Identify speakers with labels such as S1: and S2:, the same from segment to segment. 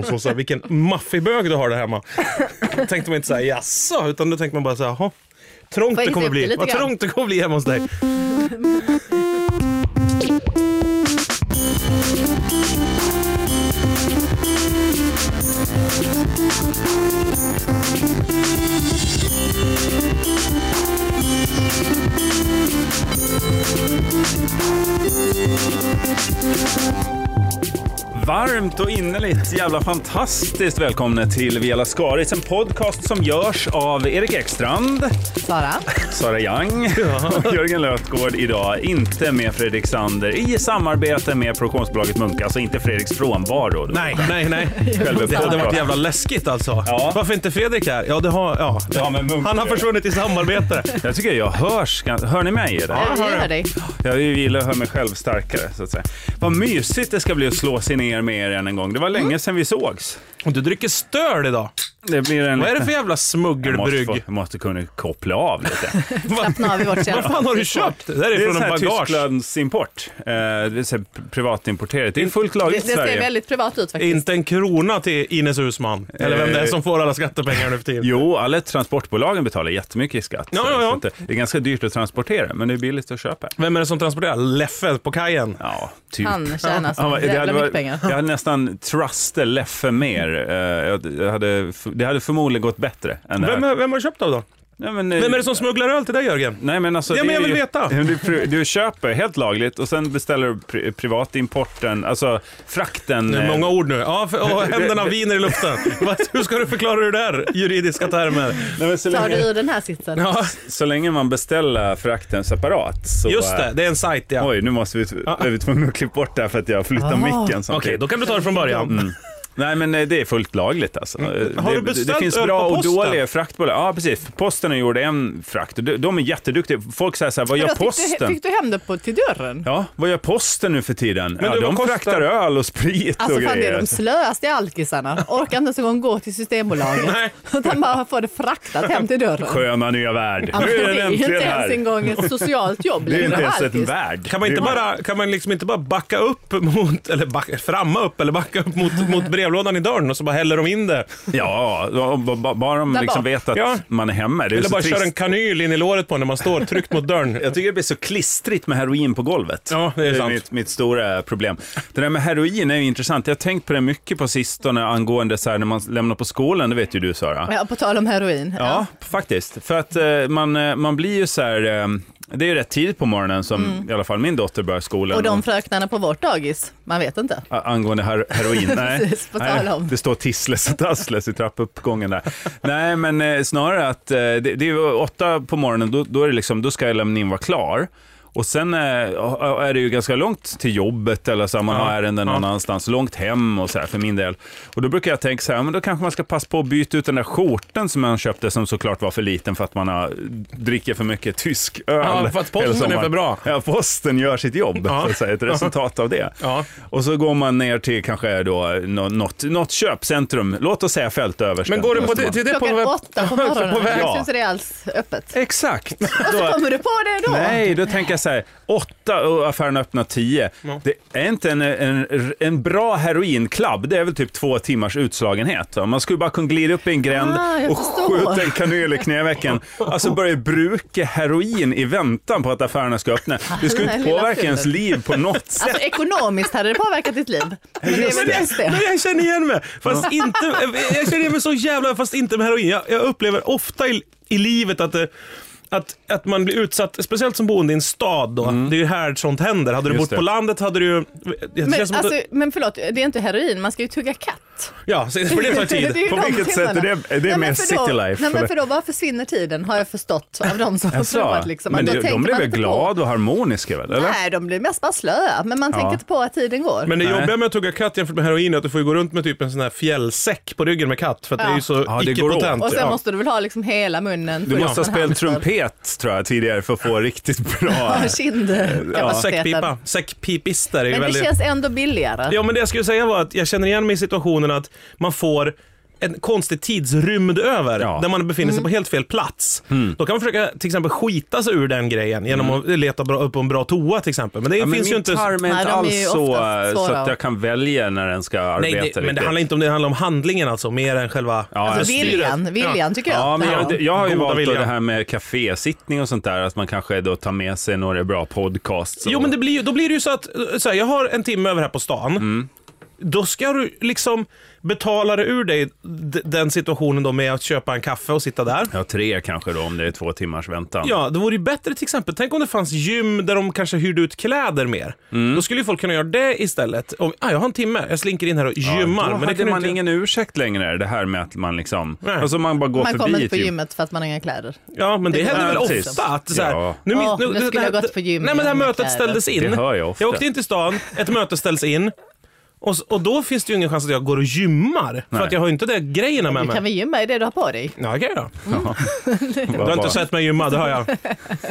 S1: Och så så här, vilken maffig bög du har där hemma. Då tänkte man inte så här, jaså, utan då tänkte man bara så här, "Jaha, trångt
S2: Får jag
S1: det kommer
S2: hissa upp det
S1: bli.
S2: lite
S1: Vad
S2: grann?
S1: trångt det kommer bli hemma hos dig.
S3: Varmt och innerligt jävla fantastiskt välkomna till Vela Skaris, en podcast som görs av Erik Ekstrand,
S2: Sara.
S3: Sara Young och Jörgen Lötgård idag. Inte med Fredrik Sander i samarbete med produktionsbolaget Munka, alltså inte Fredriks frånvaro. då.
S1: Nej, nej, nej.
S3: Själva
S1: Det hade
S3: podcasten.
S1: varit jävla läskigt alltså.
S3: Ja.
S1: Varför inte Fredrik här? Ja, det har, ja.
S3: Ja, men Munch-
S1: Han har försvunnit i samarbete.
S3: Jag tycker jag hörs. gans- Hör ni mig? i det?
S2: Ja, vi hör dig.
S3: Jag gillar att höra mig själv starkare. Så att säga. Vad mysigt det ska bli att slå sig ner med er än en gång. Det var
S1: Mm.
S3: länge sedan vi sågs.
S1: Och du dricker stöl idag.
S3: Det blir en
S1: Vad är det
S3: liten-
S1: för jävla
S3: Jag måste,
S1: smuggelbrygg?
S3: få, jag måste kunna koppla av lite.
S2: Slappna av i vårt
S1: Vad fan har du köpt? Det där
S3: Det
S1: är
S3: är
S1: från
S3: sån
S1: en
S3: här
S1: bagage.
S3: Tysklandsimport. Eh, det är så här p- privatimporterat. Det är fullt
S2: Det, det
S3: lagligt i
S2: ser
S3: Sverige.
S2: väldigt privat ut faktiskt.
S1: Inte en krona till Ines Husman. Eller vem det är
S3: Eh.
S1: som får alla skattepengar nu för tiden.
S3: Jo, alla transportbolagen betalar jättemycket i skatt.
S1: Ja,
S3: så
S1: ja, ja.
S3: att Det det är ganska dyrt att transportera, men det är billigt att köpa.
S1: Vem är det som transporterar? Leffe på kajen?
S3: Ja, typ.
S2: Han tjänar så
S3: Ja, men det
S2: jävla
S3: hade
S2: mycket
S3: varit-
S2: pengar.
S3: Jag hade nästan truste Leffe mer. Eh, jag- jag hade, f- det hade förmodligen gått bättre. Än det här.
S1: Vem, är- vem har du köpt av då?
S3: Nej, men, eh,
S1: Vem är det som smugglar öl till dig Jörgen?
S3: Nej, men alltså,
S1: Ja,
S3: det
S1: men jag
S3: är
S1: vill
S3: ju-
S1: veta.
S3: Du, pri- du köper helt lagligt och sen beställer du pri, privatimporten, alltså frakten.
S1: Det är
S3: eh,
S1: många ord nu. Ja, för, och händerna viner i luften. Vad- Hur ska du förklara det där? Juridiska termer.
S3: Nej, men så,
S2: Tar du
S3: länge,
S2: ur den här sitsen?
S1: Ja,
S3: så länge man beställer frakten separat så...
S1: just det,
S3: eh,
S1: det är en sajt ja.
S3: Oj, nu måste vi, är vi tvungna att klippa bort det här för att jag flyttar micken
S1: Okej,
S3: samtidigt.
S1: då kan du ta det från början.
S3: Mm. Nej, men eh, det är fullt lagligt alltså. Eh,
S1: Mm. Har
S3: det,
S1: du beställt
S3: det finns
S1: öl på
S3: bra och
S1: posten?
S3: dåliga fraktbolag. Ja, precis. Posten har gjort en frakt. De, de är jätteduktiga. Folk säger så här, vad
S2: Men då
S3: gör
S2: fick, du,
S3: posten?
S2: fick du hem det på, till dörren?
S3: Ja, vad gör posten nu för tiden? Ja,
S1: du,
S3: de
S1: vad kostar-
S3: fraktar öl och sprit
S2: Alltså
S3: och
S2: fan det är
S3: grejer.
S2: de slöaste alkisarna. Orkar inte ens en gång gå till Systembolaget.
S1: Nej.
S2: Utan bara får det fraktat hem till dörren.
S3: Sköna nya värld.
S2: Alltså,
S3: nu
S2: det
S3: är den
S2: är ju inte
S3: äntligen
S2: ens en
S3: här.
S2: gång ett socialt jobb
S3: Det är inte
S2: längre.
S3: ens en
S2: alkis.
S3: värld.
S1: Kan man, inte
S3: Det är-
S1: bara, kan man liksom inte bara backa upp mot, eller backa, framma upp eller backa upp mot, mot brevlådan i dörren och så bara häller de in det?
S3: Ja, om- ba- ba- bara de
S2: Där
S3: liksom
S2: bak.
S3: vet att
S1: Ja.
S3: man är hemma. Det är
S1: Eller
S3: så
S1: bara
S3: trist.
S1: köra en kanyl in i låret på när man står tryckt mot dörren.
S3: Jag tycker det blir så klistrigt med heroin på golvet.
S1: Ja, det är sant.
S3: mitt, mitt stora problem. Det där med heroin är ju intressant. Jag har tänkt på det mycket på sistone angående så här när man lämnar på skolan, det vet ju du Sara.
S2: Ja, på tal om heroin.
S3: Ja, faktiskt. För att eh, man, eh, man blir ju så här, eh, det är ju rätt tidigt på morgonen som i alla fall min dotter börjar skolan.
S2: Mm. Och de fröknarna på vårt dagis, man vet inte.
S3: A- angående her heroin. Nej.
S2: Precis, på tal om.
S3: Nej, det står Tissles och Tassles i trappuppgången där. Nej, men eh, snarare att eh, det, det är ju åtta på morgonen, då, då, är det liksom, då ska lämningen vara klar. Och sen eh, är det ju ganska långt till jobbet eller så, här, man har ärenden någon annanstans, långt hem och så här för min del. Och då brukar jag tänka så här, men då kanske man ska passa på att byta ut den där skjortan som man köpte som såklart var för liten för att man har, dricker för mycket tysk öl.
S1: Ja, för att posten
S3: hela sommaren.
S1: är för bra.
S3: Ja, posten gör sitt jobb,
S1: Ja.
S3: så att säga, ett resultat av det.
S1: Ja.
S3: Och så går man ner till kanske då nå- något, något köpcentrum, låt oss säga Fältöversten.
S1: Men går du på det, till det på,
S2: Klockan åtta på morgonen,
S1: på väg?
S2: jag
S3: Ja.
S2: syns inte det är alls öppet.
S3: Exakt.
S2: Så
S3: Då,
S2: Alltså, kommer du på det då?
S3: nej, då tänker jag så här, åtta och affären öppnar tio. Det är inte en, en, en bra heroinklabb, det är väl typ två timmars utslagenhet. va? Man skulle bara kunna glida upp i en gränd
S2: Ah, jag
S3: och
S2: förstår.
S3: skjuta en kanyl i knävecken. Alltså börja bruka heroin i väntan på att affärerna ska öppna. Det skulle
S2: Den här
S3: inte
S2: lilla
S3: påverka ens
S2: fyllan.
S3: liv på något sätt.
S2: Alltså ekonomiskt hade det påverkat ditt liv. Men det är väl just
S1: Men
S2: det.
S1: jag känner igen mig. Fast inte, jag känner igen mig så jävla, fast inte med heroin. Jag, jag upplever ofta i, i livet att, det, att, att man blir utsatt, speciellt som boende i en stad då. Det är ju här sånt händer. Hade du
S3: Mm. Just
S1: bott
S3: det.
S1: på landet hade du ju... Det
S2: Men,
S1: känns som att-
S2: alltså, men förlåt, det är inte heroin, man ska ju tugga katt.
S1: ja, så- för det tar
S2: är
S1: tid.
S2: ju
S3: På
S2: de
S3: vilket
S2: timmarna.
S3: sätt är det- är det
S2: men
S3: mer
S2: för
S3: city
S2: då,
S3: life,
S2: Nej, men
S3: eller?
S2: för då bara försvinner tiden, har jag förstått av de som har
S3: Alltså,
S2: provat. Liksom.
S3: men
S2: Då
S3: det,
S2: tänker
S3: de blir
S2: man
S3: väl
S2: inte på-
S3: glada och harmoniska väl? Eller?
S2: Nej, de blir mest bara slöa, men man tänker inte på att tiden går.
S1: Men det
S3: Nej.
S1: jobbiga med att tugga katt jämfört med heroin är att du får ju gå runt med typ en sån här fjällsäck på ryggen med katt för att det är ju så
S3: Ja, det går åt.
S1: icke-potent.
S2: och sen
S1: Ja.
S2: måste du väl ha liksom hela munnen
S3: Du
S2: full
S3: måste ha
S2: av
S3: spelat
S2: hamster.
S3: trumpet tror jag tidigare för att få riktigt bra...
S2: Ja, kindkapaciteten.
S1: Säckpipa. Säckpipister är ju
S2: men det
S1: väldigt...
S2: känns ändå billigare.
S1: Ja men det jag skulle säga var att jag känner igen mig i situationen att man får en konstig tidsrymd över,
S3: Ja. Mm.
S1: där man
S2: Mm.
S1: befinner sig på helt fel plats. Då kan man försöka till exempel skita sig ur den grejen genom att leta bra, upp på en bra toa till exempel. Men det
S3: Ja, men
S1: finns ju
S3: min
S1: inte...
S3: tarm är
S2: Nej,
S3: inte
S2: de är
S3: alls
S2: ju
S3: så,
S2: oftast
S3: så
S2: svåra.
S3: att jag kan välja när den ska arbeta.
S1: Nej, det, men det
S3: riktigt.
S1: handlar inte om det, det handlar om handlingen alltså, mer än själva...
S3: Ja,
S1: alltså,
S2: Alltså
S3: styret.
S2: viljan, viljan tycker jag.
S3: Ja, men
S2: Ja.
S3: jag, det- jag har ju
S1: Goda
S3: valt då
S1: viljan.
S3: det här med kafésittning och sånt där, att man kanske då tar med sig några bra podcasts. och-
S1: Jo, men det blir, ju- då blir det ju så att, så här, jag har en timme över här på stan.
S3: Mm.
S1: Då ska du liksom betala dig ur dig d- den situationen då med att köpa en kaffe och sitta där.
S3: Ja, tre kanske då om det är två timmars väntan.
S1: Ja, det vore ju bättre till exempel, tänk om det fanns gym där de kanske hyrde ut kläder mer.
S3: Mm.
S1: Då skulle ju folk kunna göra det istället. Om, ah, jag har en timme, jag slinker in här och gymmar.
S3: Då
S1: men det
S3: hade
S1: kan
S3: man
S1: man inte...
S3: ingen ursäkt längre, det här med att man liksom...
S1: Nej.
S3: Alltså man bara går
S2: Man
S3: förbi
S2: kommer inte på
S3: typ.
S2: gymmet för att man har inga kläder.
S1: Ja, men det
S2: Det
S1: händer
S2: var
S1: väl
S3: precis.
S1: ofta att så här,
S3: Ja.
S1: minns-
S2: Åh, nu skulle
S1: det-
S2: jag gått på gym
S1: Nej, men det här
S2: med
S1: mötet
S2: kläder.
S1: ställdes in.
S3: Det hör jag ofta.
S1: åkte in till stan, ett möte ställs in. Och, s- och då finns det ju ingen chans att jag går och gymmar. För
S3: Nej.
S1: att jag har ju inte det grejerna med
S2: Du kan
S1: mig.
S2: väl gymma i det du har på dig?
S1: Ja, okej då.
S3: Bara,
S1: Du har
S3: bara-
S1: inte sett mig gymma, det hör jag.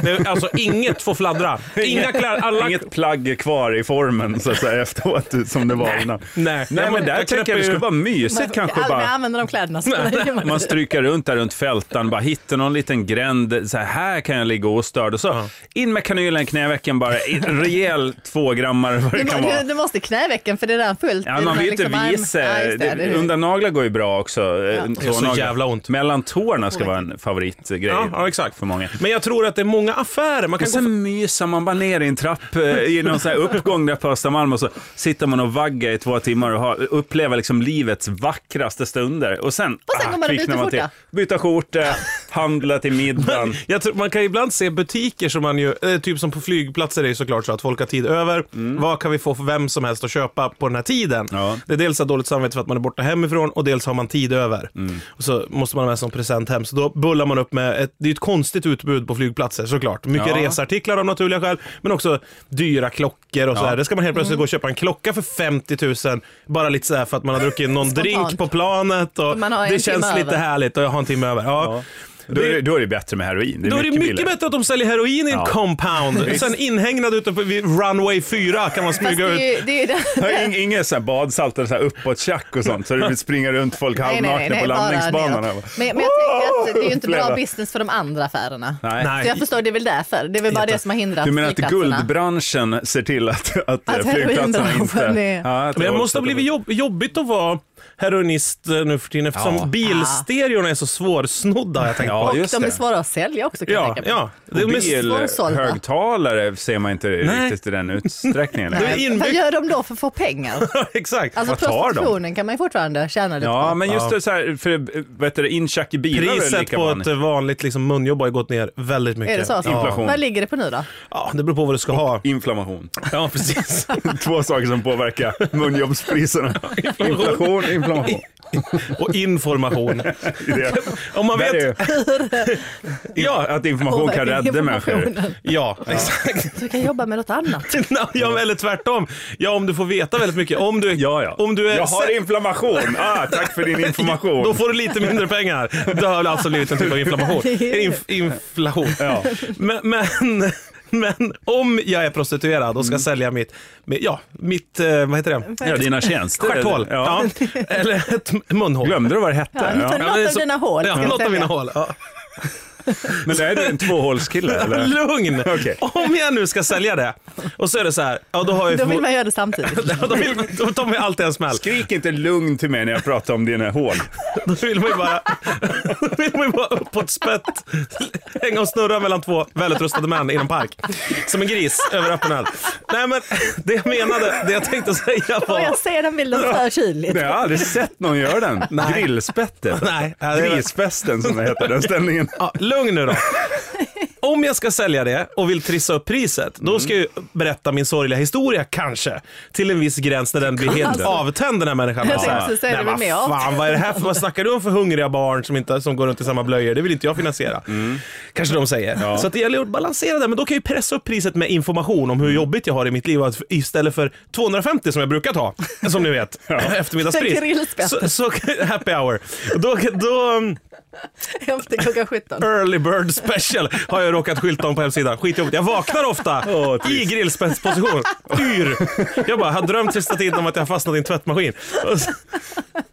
S1: Det är, alltså inget får fladdra. Inga kläder, alla...
S3: Inget plagg är kvar i formen så att säga efteråt som det var innan.
S1: Nej,
S3: Nej
S1: Jag
S3: men
S1: må-
S3: där tänker
S1: knäpper
S3: jag det
S1: ju-
S3: skulle vara mysigt
S2: Man får
S3: kanske
S2: aldrig
S3: bara.
S2: använda Alltså, de kläderna. som man gymmar i.
S3: Man stryker runt där runt fältan, bara hittar någon liten gränd, så här, här kan jag ligga ostörd. Och så
S1: Ja.
S3: in med kanylen, knävecken bara, i- rejäl tvågrammare vad det
S2: Du,
S3: kan
S2: må-
S3: vara.
S2: du, du måste knävecken för det är redan fullt.
S3: Ja,
S2: i
S3: man
S2: den här
S3: vill inte
S2: liksom arm-
S3: visa.
S2: Ja, just det, det är-
S3: Undernaglar går ju bra också. eh,
S1: Det är så
S3: tånaglar.
S1: jävla ont.
S3: Mellan tårna ska vara en favoritgrej
S1: Ja, ja, exakt.
S3: för många.
S1: Men jag tror att det är många affärer. Man kan
S3: Och sen myser man bara ner i en trapp eh, i någon sån här uppgång där på Östermalm och så sitter man och vaggar i två timmar och har, upplever liksom livets vackraste stunder. Och sen, ah,
S2: Och sen går man och
S3: kvicknar
S2: byter
S3: till.
S2: skjorta.
S3: Byta skjorta, handla till middagen.
S2: Mm.
S1: Jag tror, man kan ibland se butiker som man ju, eh, typ som på flygplatser är det såklart så att folk har tid över.
S2: Mm.
S1: Vad kan vi få för vem som helst att köpa på den här tiden?
S3: Ja.
S1: Det är dels att dåligt samvete för att man är borta hemifrån och dels har man tid över.
S2: Mm.
S1: Och så måste man ha med sig en present hem. Så då bullar man upp med, ett, det är ju ett konstigt utbud på flygplatser såklart. Mycket
S3: Ja.
S1: resartiklar av naturliga skäl, men också dyra klockor och sådär. Det ska man helt plötsligt
S2: Mm.
S1: gå och köpa en klocka för 50 000, bara lite sådär för att man har druckit någon
S2: Spontant.
S1: drink på planet och
S2: Man har en
S1: det känns
S2: timme
S1: lite
S2: över.
S1: härligt och jag har en timme över. Ja.
S3: Då, är det, då är det bättre med heroin. Det är
S1: Då är det mycket
S3: billigare.
S1: bättre att de säljer heroin i en
S3: Ja.
S1: compound. Sen inhägnad ute på vid runway 4 kan man
S2: Fast det
S1: smyga
S2: är
S1: ut.
S2: ju, det är ju det.
S3: Har ing- Inget så här badsalt eller så här uppåt-tjack och sånt så det springer runt folk
S2: Nej, nej, nej,
S3: halvnakna på
S2: bara
S3: landningsbanan.
S2: neråt.
S3: här, bara.
S2: Men, men jag tänker att det är ju inte
S3: Flera.
S2: bra business för de andra affärerna.
S3: Nej.
S1: Nej.
S2: Så jag förstår, det är väl därför. Det är väl bara det som har hindrat
S3: Du menar att
S2: flygplatserna.
S3: guldbranschen ser till att, att, eh,
S2: heroinbranschen
S3: flygplatserna inte...
S2: är-
S3: Ja, att
S1: Men det
S3: folk
S1: måste ha
S3: sätter-
S1: blivit jobb, jobbigt att vara heroinist eh, nu för tiden eftersom
S2: Ah.
S3: Ja.
S1: bilstereorna är så svårsnodda. har Jag tänkt.
S3: Ja,
S2: Och
S3: just
S2: de är
S3: det.
S2: svåra att sälja också kan
S1: Ja,
S2: jag tänka mig.
S1: ja. Det är mest-
S2: svårsålda.
S3: Bilhögtalare ser man inte
S1: Nej.
S3: riktigt i den utsträckningen.
S1: Det är
S2: Vad
S1: inbyggt.
S2: gör de då för att få pengar?
S1: Exakt.
S2: Alltså
S3: Vad tar de?
S2: prostitutionen kan man ju fortfarande tjäna lite
S3: Ja,
S2: på.
S3: men just det, så här, för, eh, vad heter det, incheck i bilar är
S1: Priset
S3: lika
S1: på
S3: man.
S1: ett eh, vanligt liksom, munjobb har ju gått ner väldigt mycket.
S2: Är det så?
S1: Ja.
S3: Inflation.
S2: Vad ligger det på nu då?
S1: ja, det beror på vad du ska ha.
S3: Inflammation.
S1: Ja, precis.
S3: eh, Två saker som påverkar munjobbspriserna. Inflation, inflammation.
S1: Och information.
S3: I det.
S1: Om man
S3: Där
S1: vet...
S3: är
S1: Ja,
S3: Att information
S2: Påverkar
S3: kan rädda människor.
S2: informationen.
S1: ja, exakt.
S2: Du kan jobba med något annat.
S1: Ja, ja, eller tvärtom. Ja, om du får veta väldigt mycket. Om du,
S3: Ja, ja.
S1: Om du är
S3: jag har inflammation. Ah, tack för din information.
S1: Då får du lite mindre pengar. Det har alltså blivit en typ av inflammation. Inf inflation.
S3: Ja.
S1: Men, men, men om jag är prostituerad
S3: Mm.
S1: och ska sälja mitt, mi- ja, mitt, eh, vad heter det?
S3: Ja, dina tjänster.
S1: Stjärthål.
S3: Ja.
S1: Ja. Eller ett munhål.
S3: Glömde du vad det
S2: Ja,
S3: hette?
S2: något
S3: Ja.
S1: men det är
S2: av
S1: så-
S2: dina hål
S1: Ja,
S2: ska du
S1: något av
S2: sälja.
S1: mina hål. Ja.
S3: Men är du en tvåhålskille? Eller?
S1: Lugn!
S3: Okej.
S1: Om jag nu ska sälja det och så är det så här, ja då har jag ju
S2: Då vill
S1: förmo-
S2: man göra det samtidigt.
S1: Ja, då vill då tar man ju alltid en smäll.
S3: Skrik inte lugn till mig när jag pratar om dina hål.
S1: Då vill man ju bara, då vill man ju bara uppåt spett, hänga och snurra mellan två välutrustade män i en park. Som en gris över öppen eld. Nej men det jag menade, det jag tänkte säga
S2: Och
S1: var...
S2: jag ser den bilden för kyligt.
S3: Nej, jag har aldrig sett någon göra den.
S1: Nej.
S3: Grillspettet.
S1: Nej, ja, det är-
S3: Grisfesten som det heter, den ställningen.
S1: Ja, lugn nu då. Om jag ska sälja det och vill trissa upp priset, då ska jag ju berätta min sorgliga historia kanske. Till en viss gräns när den blir helt avtänd den här människan.
S2: Jag tänkte
S1: Ja.
S2: precis säga det,
S1: Nej,
S2: vi är
S1: vad
S2: med om.
S1: fan, vad är det här för, vad snackar du om för hungriga barn som, inte, som går runt i samma blöjor? Det vill inte jag finansiera.
S2: Mm.
S1: Kanske de säger. Så att det gäller att balansera det, men då kan jag ju pressa upp priset med information om hur
S2: Mm.
S1: jobbigt jag har i mitt liv. Och att Istället för 250 som jag brukat ha, som ni vet, eftermiddagspris.
S2: För grillspett.
S1: Så, så, happy hour. Då, då, mm,
S2: Efter klockan 17.
S1: Early bird special har jag råkat skylta om på hemsidan. Skitjobbigt. Jag vaknar ofta
S3: Åh, trist.
S1: i grillspetsposition. Yr. Jag bara, har drömt sista tiden om att jag har fastnat i en tvättmaskin. Och så-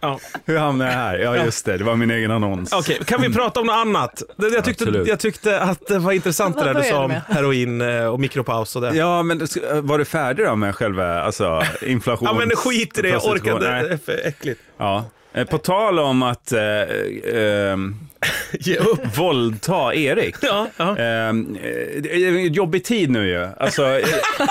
S1: Ja.
S3: Hur hamnade jag här? Ja, just det. Det var min egen annons.
S1: Okej, kan vi prata om något annat? Det- Jag tyckte,
S3: Absolut.
S1: jag tyckte att det var intressant det
S2: Vad
S1: där du
S2: började
S1: sa
S2: du
S1: om
S2: med?
S1: heroin eh, och mikropaus och det.
S3: Ja, men sk- var du färdig då med själva alltså, inflation?
S1: Ja men skit i det, jag
S3: prostitution?
S1: orkade. Det
S3: Nej.
S1: är för äckligt.
S3: Ja. Eh, På tal om att eh, eh,
S1: Ge upp.
S3: våldta Erik.
S1: Ja, ja.
S3: Ehm, eh, det är en jobbig tid nu ju. Alltså, eh, ja,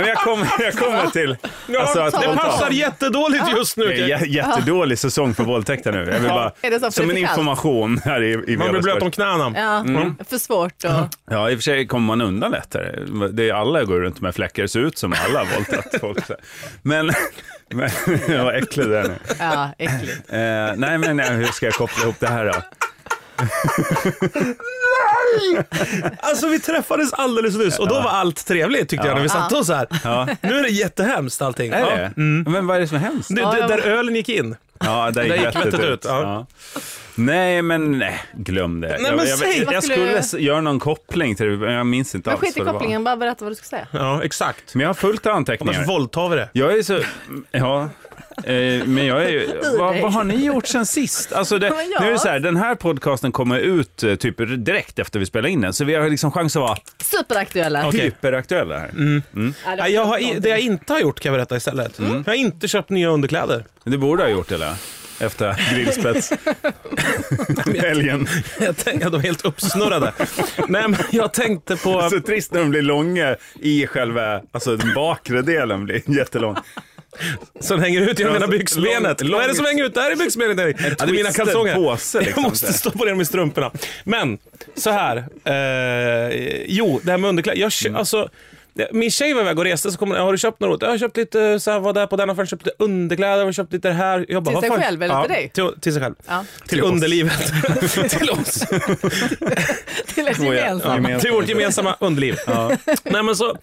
S3: men jag kommer jag kommer till... Alltså, att
S2: det
S1: det
S3: våldta.
S1: passar jättedåligt just nu.
S3: Det är
S1: Jack.
S3: jä- jättedålig säsong för våldtäkter nu. Jag vill bara,
S2: Är det så? För
S3: som
S2: det
S3: en
S2: är för kallt.
S3: information här i, i
S1: Man blir blöt om knäna.
S2: Ja,
S1: Mm.
S2: för svårt och...
S3: Ja, i och för sig kommer man undan lättare. Det är alla går runt med fläckar, ser ut som alla har våldtagit folk. så här. Men, men vad äcklig du är nu.
S2: Ja, äckligt.
S3: Eh, nej, men eh, hur ska jag koppla ihop det här då?
S1: Alltså vi träffades alldeles nyss och då var allt trevligt tyckte jag när vi satte oss här. Nu är det jättehemskt allting.
S3: Är
S1: Ja. Mm.
S3: det? Men vad är det som är hemskt?
S1: Det,
S2: Ja,
S1: det,
S2: jag
S1: där
S2: var-
S1: ölen gick in.
S3: Ja, där gick,
S1: gick
S3: vettet
S1: vettet
S3: ut.
S1: ut, ja.
S3: Ja. Nej, men nej, glöm det. jag,
S1: men
S3: jag,
S1: säg,
S3: jag,
S1: vad
S3: jag
S2: skulle
S3: skulle
S2: du-
S3: s- göra någon koppling till det, men jag minns inte
S2: Men
S3: alls
S2: skit i
S3: vad det var.
S2: kopplingen, bara berätta vad du ska säga.
S1: Ja, exakt.
S3: Men jag har fullt av anteckningar.
S1: Annars våldtar vi det.
S3: Jag är så, ja, eh, men jag är ju, vad, vad har ni gjort sen sist? Alltså det,
S2: Men jag-
S3: nu är det så här, den här podcasten kommer ut eh, typ direkt efter vi spelar in den, så vi har liksom chans att vara
S2: Superaktuella.
S1: Okej.
S3: hyperaktuella här.
S2: Ja, det var
S1: Nej, jag har, i-
S2: någonting.
S1: det jag inte har gjort kan jag berätta istället.
S3: Mm.
S1: Jag har inte köpt nya underkläder.
S3: Det borde ha gjort eller? Efter grillspets. Helgen.
S1: Jag tänkte att de var helt uppsnurrade. Nej, men jag tänkte på...
S3: Så trist när de blir långa i själva, alltså den bakre delen blir jättelång.
S1: Som hänger ut genom
S3: Ja,
S1: ena
S3: så-
S1: byxbenet.
S3: lång-
S1: Vad är det som hänger ut där i byxbenet Erik? Ja, det är mina
S3: twisted
S1: kalsonger.
S3: påse, liksom,
S1: jag måste
S3: så.
S1: stoppa ner dem i strumporna. Men, så här. Eh, jo, det här med underkläder. Jag, kö-
S3: Mm.
S1: alltså, det- min tjej var iväg och reste så kom hon, har du köpt något? Jag har köpt lite, eh, så här, var där på den affären, köpte lite underkläder, och köpt lite det här. Jag bara,
S2: Till
S1: "Vad
S2: sig
S1: fan?"
S2: själv eller
S1: ja,
S2: till dig?
S1: Till, till sig själv.
S2: Ja,
S1: Till underlivet. till oss.
S2: till ett gemensamt.
S1: Ja, till vårt gemensamma underliv. Nej, men så,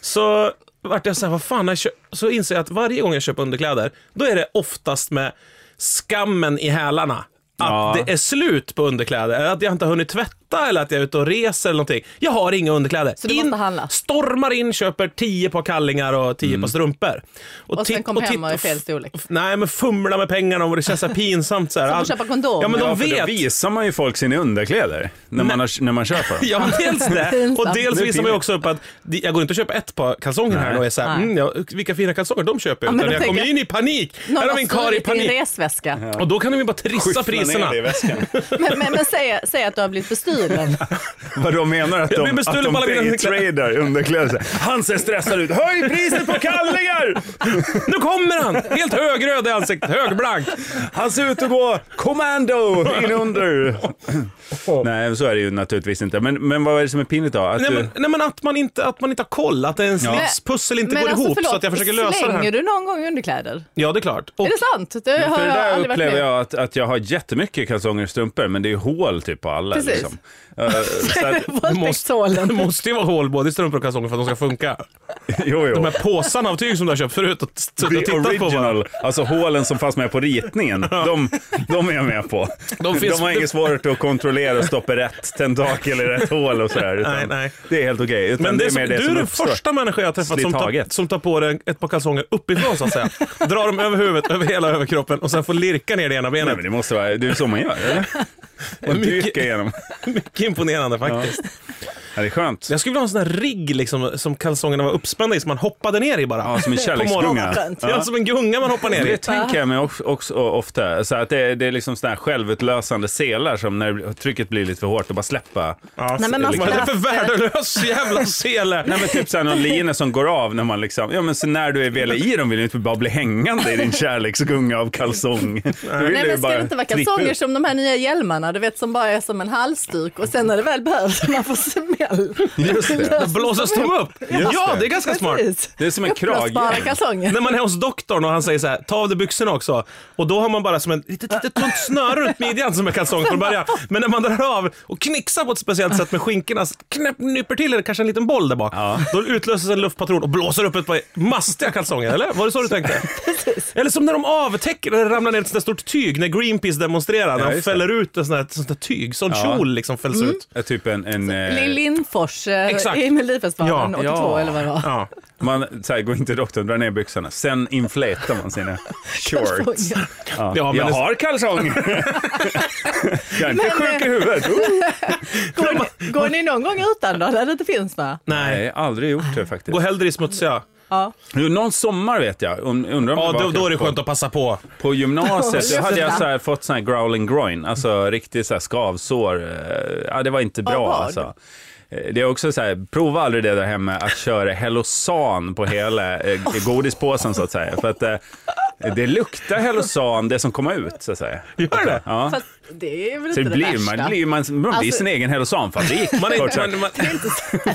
S1: så vart jag så här, vad fan, när jag kö- så inser jag att varje gång jag köper underkläder, då är det oftast med skammen i hälarna. Att
S3: Ja.
S1: det är slut på underkläder, eller att jag inte har hunnit tvätta eller att jag är ute och reser eller någonting. Jag har inga underkläder.
S2: Så du måste handla?
S1: Stormar in, köper tio par kallingar och
S3: Mm.
S1: tio par strumpor.
S2: Och sen
S1: titt-
S2: kom hem
S1: titt-
S2: och i fel storlek.
S1: f- Nej, men fumla med pengarna och det känns så här pinsamt. Så här.
S2: Som
S1: All-
S2: att köpa kondom.
S1: Ja, men de
S3: Ja, för då
S1: vet.
S3: visar man ju folk sina underkläder när, man, har, när man köper dem.
S1: Ja, men dels det.
S2: Pinsamt.
S1: Och dels
S3: Det
S1: visar
S3: är
S1: man
S3: pinligt.
S1: ju också upp att det- jag går inte och köper ett par kalsonger här
S3: Nej.
S1: och är så här,
S2: Nej.
S1: mm, ja, vilka fina kalsonger de köper.
S2: Ja, men
S1: Utan
S2: då
S1: jag kommer
S2: tänker-
S1: in i panik. Här
S2: Någon
S1: har
S2: har
S1: vi en karl i
S2: stulit din
S1: panik.
S2: resväska.
S1: Och då kan de ju bara trissa
S3: Skyffla
S1: priserna.
S3: ner det i väskan.
S2: Men, men, men säg, säg att du har blivit bestulen.
S3: Vad de menar att
S1: Jag
S3: de,
S1: blir
S3: att
S1: bestulen
S3: de
S1: på alla mina underkläder.
S3: daytradar underkläder. så här, Han ser stressad ut. Höj priset på kallingar!
S1: Nu kommer han! Helt högröd i ansiktet, högblank.
S3: Han ser ut att gå commando in under. Nej, så är det ju naturligtvis inte. Men, men vad är det som är pinligt då? Att
S1: Nej
S3: du,
S1: men, nej, men att, man inte, att man inte har koll, att ens
S3: Ja.
S1: livspussel inte
S2: Men
S1: går
S2: alltså,
S1: ihop.
S2: förlåt,
S1: så att jag försöker lösa det
S2: Slänger
S1: här.
S2: du någon gång underkläder?
S1: Ja, det är klart. Och,
S2: Är det sant? Det har
S3: för det
S2: jag
S3: där
S2: aldrig varit med
S3: upplever
S2: om.
S3: jag att, att jag har jättemycket kalsonger och strumpor, men det är ju hål typ på alla.
S2: Precis.
S3: Liksom. Eh, så att,
S1: det
S2: Våldtäktstålen.
S1: måste ju vara hål både i strumpor och kalsonger för att de ska funka.
S3: jo,
S1: De
S3: jo.
S1: här påsarna av tyg som du har köpt förut och suttit och
S3: The
S1: tittat på. varandra.
S3: original, alltså hålen som fanns med på ritningen, de, de är jag med på. De,
S1: De finns-
S3: har inget svårt att kontrollera och stoppa rätt tentakel i rätt hål och sådär. utan
S1: Nej, nej.
S3: Det är helt okej. utan
S1: Men det är
S3: är
S1: som,
S3: mer
S1: du
S3: som
S1: är den
S3: uppstår.
S1: första människan jag har träffat som tar,
S3: Slitaget.
S1: som tar på dig ett par kalsonger uppifrån så att säga. Drar dem över huvudet, över hela överkroppen och sen får lirka ner det ena
S3: Nej,
S1: benet.
S3: men det måste vara, det är så man gör, eller? Man
S1: Mycket-
S3: dyker igenom.
S1: Mycket imponerande faktiskt.
S3: Ja, det är skönt.
S1: Jag skulle vilja ha en sån här rigg liksom, som kalsongerna var uppspända i som man hoppade ner i bara.
S3: Ja, som en kärleksgunga.
S2: Vad skönt.
S1: Ja. som en gunga man hoppar ner i.
S3: Det tänker jag mig också, också ofta. Så att det, det är liksom såna här självutlösande selar som när det blir- trycket blir lite för hårt och bara släppa.
S1: Ja,
S2: Nej, men man
S1: Vad är det
S2: skulle
S1: för värdelös jävla sele?
S3: Nej men typ såhär någon lina som går av när man liksom, ja men så när du är väl i dem vill du inte bara bli hängande i din kärleksgunga av kalsong.
S2: Nej men ska det inte vara kalsonger som de här nya hjälmarna, du vet som bara är som en halsduk och sen när det väl behövs man får smäll.
S3: Just det.
S1: Då Blåses de upp? Ja, det är ganska smart.
S2: alltså, Precis.
S3: Det är som en krage.
S2: Uppblåsbara kalsonger.
S1: När man är hos doktorn och han säger så här, ta av dig byxorna också. Och då har man bara som ett litet, litet tunt snöre runt midjan som är kalsong från början. Men när man drar av och knixar på ett speciellt sätt med skinkorna, så knäpp, nyper till eller kanske en liten boll där bak.
S3: Ja.
S1: Då utlöses en luftpatron och blåser upp ett par mastiga kalsonger, eller? Var det så du tänkte? Eller som när de avtäcker, när det ramlar ner ett sånt där stort tyg, när Greenpeace demonstrerar, när de
S3: just det.
S1: fäller ut ett sånt där, ett sånt där tyg, sån
S3: Ja. Mm.
S1: kjol liksom fälls ut.
S3: Ja, Typ en, en eh,
S2: Lill Rimfors eh,
S1: Exakt.
S2: i Melodifestivalen
S1: Ja.
S2: 82
S3: Ja.
S2: eller vad det var.
S1: Ja.
S3: Man så här, går inte till doktorn, drar ner byxorna. Sen infletar man sina shorts.
S2: Kalsonger.
S3: Ja.
S1: Ja, men
S3: jag
S1: det-
S3: har kalsonger! jag är inte
S2: Men,
S3: sjuk i
S2: eh,
S3: huvudet. Oh.
S2: Går ni, går ni någon gång utan då, där det inte finns några?
S1: Nej.
S3: Nej, aldrig gjort det faktiskt.
S1: Gå hellre i smutsiga.
S2: Ja.
S3: Jo, Någon sommar vet jag. Um- Undrar om
S1: Ja,
S3: det var
S1: då, då är det
S3: kanske
S1: skönt att passa på.
S3: På gymnasiet då hade jag
S2: Jättebra.
S3: så här fått sån här growling groin,
S1: Mm.
S3: alltså riktigt så här skavsår. Eh, Ja, det var inte bra
S2: vad?
S3: alltså. Eh, Det är också så här, prova aldrig det där hemma att köra Hellosan på hela eh, godispåsen så att säga. För att eh, det luktar Hellosan, det som kommer ut så att säga.
S1: Gör det?
S3: Ja.
S2: Fast det är väl
S3: Så
S2: inte
S3: det
S2: det,
S3: blir,
S2: värsta.
S3: man, blir, man, man blir
S2: Alltså-
S3: sin egen Hellosanfabrik.
S1: Man är
S3: kort
S1: inte...
S3: sagt.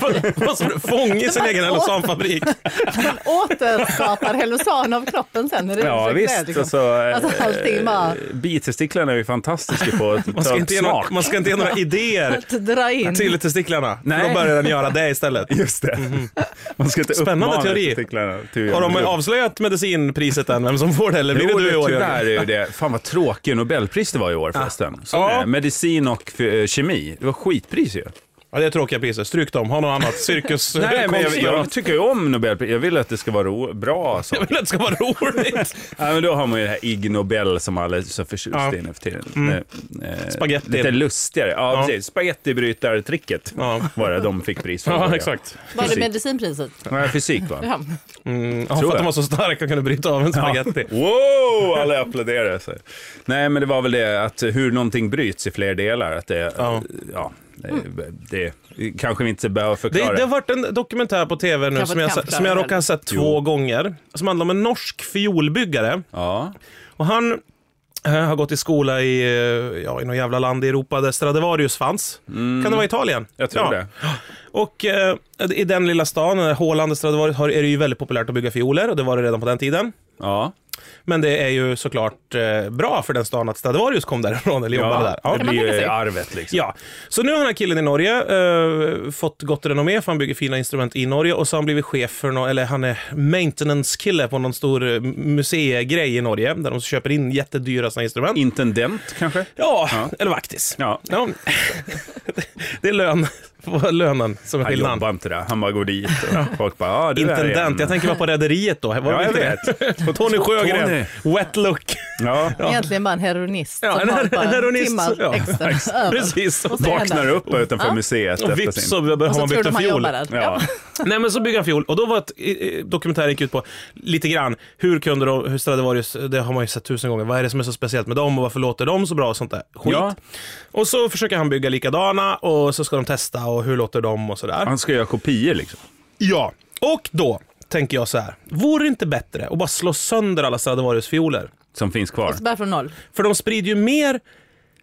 S1: Man, man, man, man fångar sin egen Allosanfabrik.
S2: Man återskapar Hellosan av kroppen sen. Är det
S3: Ja
S2: det
S3: visst,
S2: är liksom.
S3: alltså, eh,
S2: Alltså, allting bara-
S3: bitestiklarna är ju fantastiska på att
S1: Man
S3: ta
S1: ska,
S3: upp
S1: inte ge några,
S3: smak.
S1: man ska inte ge några idéer
S2: Att dra in.
S1: till testiklarna.
S3: Nej.
S1: Nej. Då börjar den göra det istället.
S3: Just det. Man ska inte
S1: Mhm. Spännande
S3: uppmana
S1: teori.
S3: testiklarna till
S1: Har de
S3: Jo,
S1: avslöjat medicinpriset än, vem som får det? Eller blir det du i år?
S3: tyvärr
S1: Jörgen?
S3: är ju det. Fan vad tråkig Nobelpris det var i år förresten. Så
S1: Ja.
S3: är det. Medicin och eh, kemi. Det var skitpris ju.
S1: Ja, det är tråkiga priser. Stryk dem. Ha något annat. Cirkus...
S3: Nej, men jag,
S1: konst-
S3: jag tycker ju om Nobelpris. Jag vill att det ska vara ro- bra
S1: Jag
S3: saker.
S1: vill att det ska vara roligt.
S3: Ja, men då har man ju det här Ig Nobel som alla är så förtjusta
S1: Ja.
S3: i nu för tiden. Eh, eh,
S1: Spaghetti.
S3: Lite lustigare. Ja,
S1: Ja.
S3: precis. Spagettibrytartricket
S1: Ja.
S3: var det de fick pris för.
S1: Ja, exakt.
S2: Var det
S3: Fysik.
S2: medicinpriset?
S3: Nej, fysik va?
S2: Ja.
S1: Mm, ja, för
S3: Tror
S1: att
S3: jag.
S1: de var så starka och kunde bryta av en spagetti.
S3: Wow, alla applåderar. Så. Nej, men det var väl det att hur någonting bryts i fler delar. Att det, ja.
S1: Ja.
S3: det, det kanske vi inte behöver
S1: Det,
S3: förklara.
S1: det har varit en dokumentär på tv nu
S2: Kan
S1: som
S2: vara
S1: jag,
S2: kamp där
S1: som jag
S2: väl?
S1: råkar ha sett två gånger. Som handlar om en norsk fiolbyggare.
S3: Ja,
S1: Och han eh, har gått i skola i, eh, ja, i något jävla land i Europa där Stradivarius fanns. Kan det vara Italien?
S3: Mm. jag tror
S1: ja.
S3: det.
S1: Och eh, i den lilla stan, eh, Håland och Stradivarius, har, är det ju väldigt populärt att bygga fioler och det var det redan på den tiden.
S3: Ja,
S1: Men det är ju såklart eh, bra för den stan att Stradivarius kom därifrån eller jobbade där.
S3: ja, det blir
S2: tänka
S3: ju
S2: sig.
S3: arvet liksom.
S1: Ja, så nu har den här killen i Norge eh, fått gott renommé för han bygger fina instrument i Norge och så har han blivit chef för någon, eller han är maintenance-kille på någon stor eh, museigrej i Norge där de köper in jättedyra såna instrument.
S3: Intendent kanske?
S1: Ja,
S3: Ja.
S1: eller vaktis.
S3: Ja.
S1: Ja. Det är lön, lönen som är
S3: Han
S1: skillnaden.
S3: jobbar inte där, han bara går dit och folk bara, ja ah, du är här igen."
S1: Intendent, jag tänker bara på Rederiet då. Var
S3: Ja,
S1: det
S3: jag
S1: inte det?
S3: vet.
S1: Tony Sjögren, wet look.
S3: Ja.
S2: Egentligen bara en heroinist
S1: Ja,
S2: som
S1: en
S2: har
S1: her-
S2: bara
S1: en heroinist,
S2: timmar
S1: ja.
S2: extra över.
S1: Precis.
S2: Och så är han
S3: Vaknar
S2: där.
S3: upp utanför
S2: Ja.
S3: museet
S1: Och
S3: efter
S1: vips så
S3: sin...
S1: har
S2: Och så
S1: man
S2: tror
S1: byggt en
S2: de han
S1: fiol.
S2: jobbar där.
S3: Ja.
S1: Nej men så bygger han fiol och då var ett, eh, eh, dokumentären gick ut på lite grann hur kunde de, hur Stradivarius, det har man ju sett tusen gånger, vad är det som är så speciellt med dem och varför låter de så bra och sånt där skit.
S3: Ja.
S1: Och så försöker han bygga likadana och så ska de testa och hur låter de och sådär.
S3: Han ska göra kopior liksom.
S1: Ja, och då tänker jag så här, vore det inte bättre att bara slå sönder alla Stradivarius-fioler?
S3: Som finns kvar.
S2: Så börjar från noll.
S1: För de sprider ju mer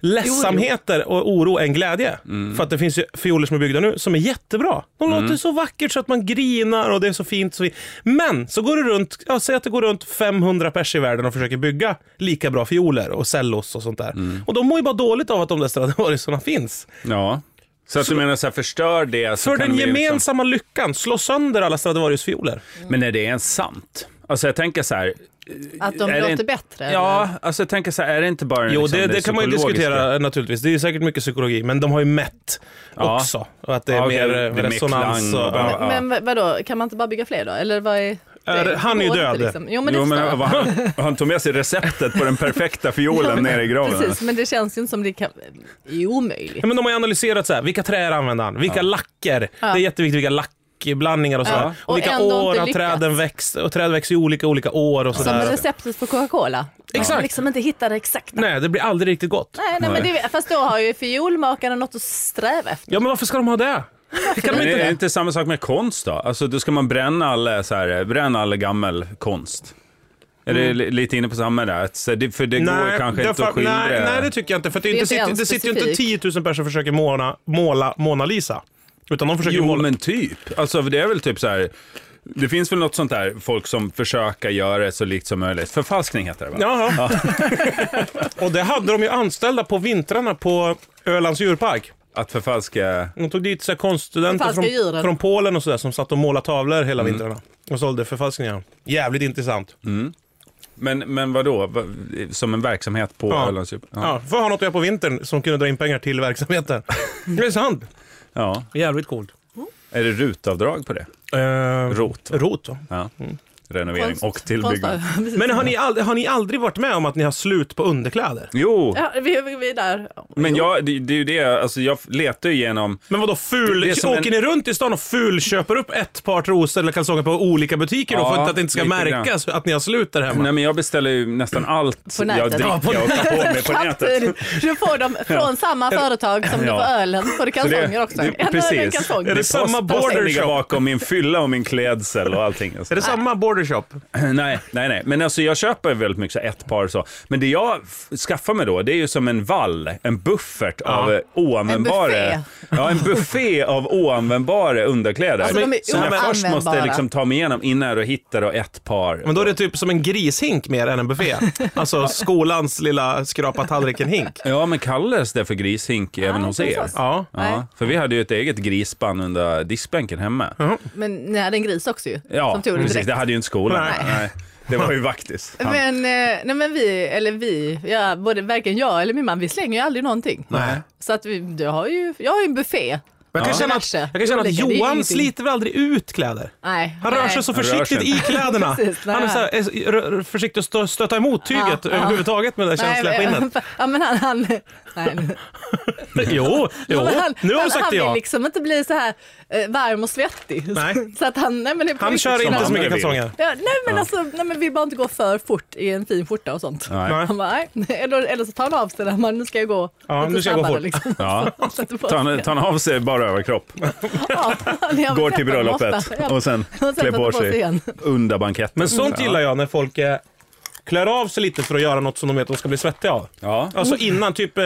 S1: ledsamheter och oro än glädje.
S3: Mm.
S1: För att det finns ju fioler som är byggda nu som är jättebra. De låter så vackert så att man grinar och det är så fint. Så fint. Men så går det runt, ja, säg att det går runt 500 pers i världen och försöker bygga lika bra fioler och cellos och sånt där.
S3: Mm.
S1: Och de mår ju bara dåligt av att de där Stradivariusarna finns.
S3: Ja. Så att du menar så här, förstör det så
S1: För
S3: kan
S1: den
S3: vi liksom-
S1: gemensamma lyckan, slå sönder alla Stradivarius-fioler.
S3: Men är det ens sant? Alltså jag tänker så här.
S2: Att de
S3: är det
S2: låter
S3: inte-
S2: bättre? eller?
S3: Ja, alltså jag tänker så här, är det inte bara
S1: Jo,
S3: liksom
S1: det, det kan man ju
S3: psykologiska-
S1: diskutera eh, naturligtvis. Det är ju säkert mycket psykologi, men de har ju mätt
S3: Ja.
S1: också. Och att det är
S3: Ja, okej,
S1: mer
S3: det är
S1: eh,
S3: mer
S1: resonans.
S3: klang och
S1: och,
S3: bara-
S1: ja.
S3: ja.
S2: Men vad- vadå, kan man inte bara bygga fler då? Eller vad är...
S1: Är det- han är ju
S2: går inte liksom.
S1: död.
S2: Jo men det
S3: Jo,
S2: förstår
S3: men
S2: jag.
S3: vad han, han tog med sig receptet på den perfekta fiolen nere i graven.
S2: Precis, men det känns ju inte som det kan... det är omöjligt.
S1: Ja, men de har ju analyserat så här, vilka träd använder han, vilka lacker. Det är jätteviktigt vilka lackblandningar och sådär.
S2: Ja.
S1: Och vilka
S2: Och ändå
S1: år
S2: inte
S1: har träden växt. Och träd växer i olika olika år och
S2: Som
S1: sådär.
S2: receptet på Coca-Cola.
S1: Exakt.
S2: Man liksom inte hittar det exakta. Nej,
S1: Nej, det blir aldrig riktigt gott.
S2: nej, men det, är- fast då har ju fiolmakarna något att sträva efter.
S1: Ja, men varför ska de ha det? Det kan de
S3: Men
S1: inte
S3: är det
S1: det.
S3: inte samma sak med konst då? Alltså då ska man bränna all, så här, bränna all gammal konst. Är
S1: Mm.
S3: det li- lite inne på samma där? Att, så här, det, för det går kanske inte
S1: därför-
S3: att skildra.
S1: nej, nej, det tycker jag inte. För det, är
S2: Det är
S1: inte
S2: inte
S1: sitter,
S2: ens
S1: det sitter ju inte
S2: specifikt.
S1: 10 000 personer som försöker måla, måla Mona Lisa. Utan de försöker
S3: Jo,
S1: måla...
S3: men typ. Alltså, det är väl typ så här. Det finns väl något sånt där folk som försöker göra det så likt som möjligt. Förfalskning heter det va?
S1: Jaha. och det hade de ju anställda på vintrarna på Ölands djurpark.
S3: Att förfalska...
S1: De tog dit så här konststudenter
S2: Förfalska
S1: från,
S2: djuren.
S1: från Polen och sådär som satt och målade tavlor hela vintrarna och sålde förfalskningar. Jävligt intressant.
S3: Men, men vadå? Va- Som en verksamhet på
S1: Ja.
S3: Ölands... Ja.
S1: Ja, för att ha något att göra på vintern som kunde dra in pengar till verksamheten. Det är sant.
S3: Ja.
S1: Jävligt coolt.
S3: Är det rutavdrag på det?
S1: Eh,
S3: Rot.
S1: Rot, va?
S3: Ja.
S1: Mm.
S3: Renovering
S2: Konst-
S3: och tillbyggnad.
S2: konstnär. Precis.
S1: Men har ni, aldrig, har ni aldrig varit med om att ni har slut på underkläder?
S3: Jo,
S2: Ja, vi, vi vi är där.
S3: men jag, det, det är ju det, alltså jag letar ju igenom
S1: Men vadå ful?
S3: Det- det är som
S1: åker
S3: en-
S1: ni runt i stan och fulköper upp ett par trosor eller kalsonger på olika butiker då
S3: Ja,
S1: för att det inte ska
S3: lite
S1: märkas att ni har slut där hemma?
S3: Nej men jag beställer ju nästan allt
S2: På nätet.
S3: jag dricker
S1: Ja, på
S3: och tar på mig på nätet.
S2: Samtidigt, du får dem från samma företag som du
S3: Ja.
S2: får ölen, får du
S3: Så det-
S2: kalsonger också.
S3: det-
S2: en öl och en
S3: precis.
S2: kalsong.
S1: Är det
S3: posten
S1: samma border
S3: som ligger
S1: shop?
S3: bakom min fylla och min klädsel och allting.
S1: Är det samma bordershop?
S3: Nej, nej, nej. Men alltså jag köper väldigt mycket så här, ett par så. Men det jag f- skaffar mig då, det är ju som en vall, en buffert av eh, oanvändbara...
S2: En buffé.
S3: Ja, en buffé av oanvändbara underkläder.
S2: Alltså, de är
S3: som jag först måste
S2: oanvändbara.
S3: liksom ta mig igenom innan jag hittar då ett par.
S1: Men då är det typ som en grishink mer än en buffé. Alltså skolans lilla skrapa tallriken-hink.
S3: Ja, men kallas det för grishink även hos
S2: inte
S3: er?
S2: hos oss.
S1: Ja.
S2: Nej.
S3: Ja, för vi hade ju ett eget grisspann under diskbänken hemma.
S1: Mm-hmm.
S2: Men ni hade en gris också ju,
S3: Ja,
S2: som tog det
S3: precis.
S2: direkt.
S3: Det hade ju inte skolan.
S1: Nej.
S3: Det var ju vaktis. Han-
S2: Men, eh, nej men vi, eller vi, ja, både varken jag eller min man, vi slänger ju aldrig någonting.
S1: Nej.
S2: Så att vi, du har ju, jag har ju en buffé.
S1: Men Jag kan,
S2: Ja.
S1: känna att,
S2: Diverse.
S1: jag kan känna att
S2: Olika, det är
S1: Johan
S2: ingenting.
S1: sliter väl aldrig ut kläder?
S2: Nej.
S1: Han rör
S2: nej.
S1: sig så
S3: Han rör sig
S1: försiktigt i kläderna.
S2: Precis, nej.
S1: han är, så här, är så- rör- rör- försiktig att stö- stöta emot tyget
S2: Ja, ja.
S1: överhuvudtaget med det där känsliga skinnet.
S2: men- Ja men han, han, nej.
S1: Jo, jo,
S2: Men han,
S1: nu har
S2: han,
S1: hon sagt
S2: han
S1: det ja.
S2: vill liksom inte bli så här eh, varm och svettig.
S1: Nej.
S2: Så att han, nej men det är på
S1: Han
S2: riktigt
S1: kör
S2: som
S1: inte så
S2: han-
S3: andra
S1: mycket
S3: vill.
S1: kalsonger.
S2: Ja, nej men alltså, nej men vi bara inte gå för fort i en fin skjorta och sånt.
S3: Nej.
S2: Han bara, nej. Eller, eller så tar han av sig den, men nu ska jag gå
S1: Ja, nu ska jag gå fort.
S2: Liksom.
S3: Ja.
S2: Så att det bara-
S3: Tar han, tar han av sig bara överkropp,
S2: Ja, när jag
S3: går till
S2: träffar honom
S3: bröllopet
S2: ofta. Ja.
S3: och sen klär
S2: sätter
S3: på sig
S2: igen.
S3: under banketten.
S1: Men sånt
S3: Ja.
S1: gillar jag när folk eh, klär av sig lite för att göra något som de vet att de ska bli svettiga av.
S3: Ja.
S1: Alltså innan, typ, eh,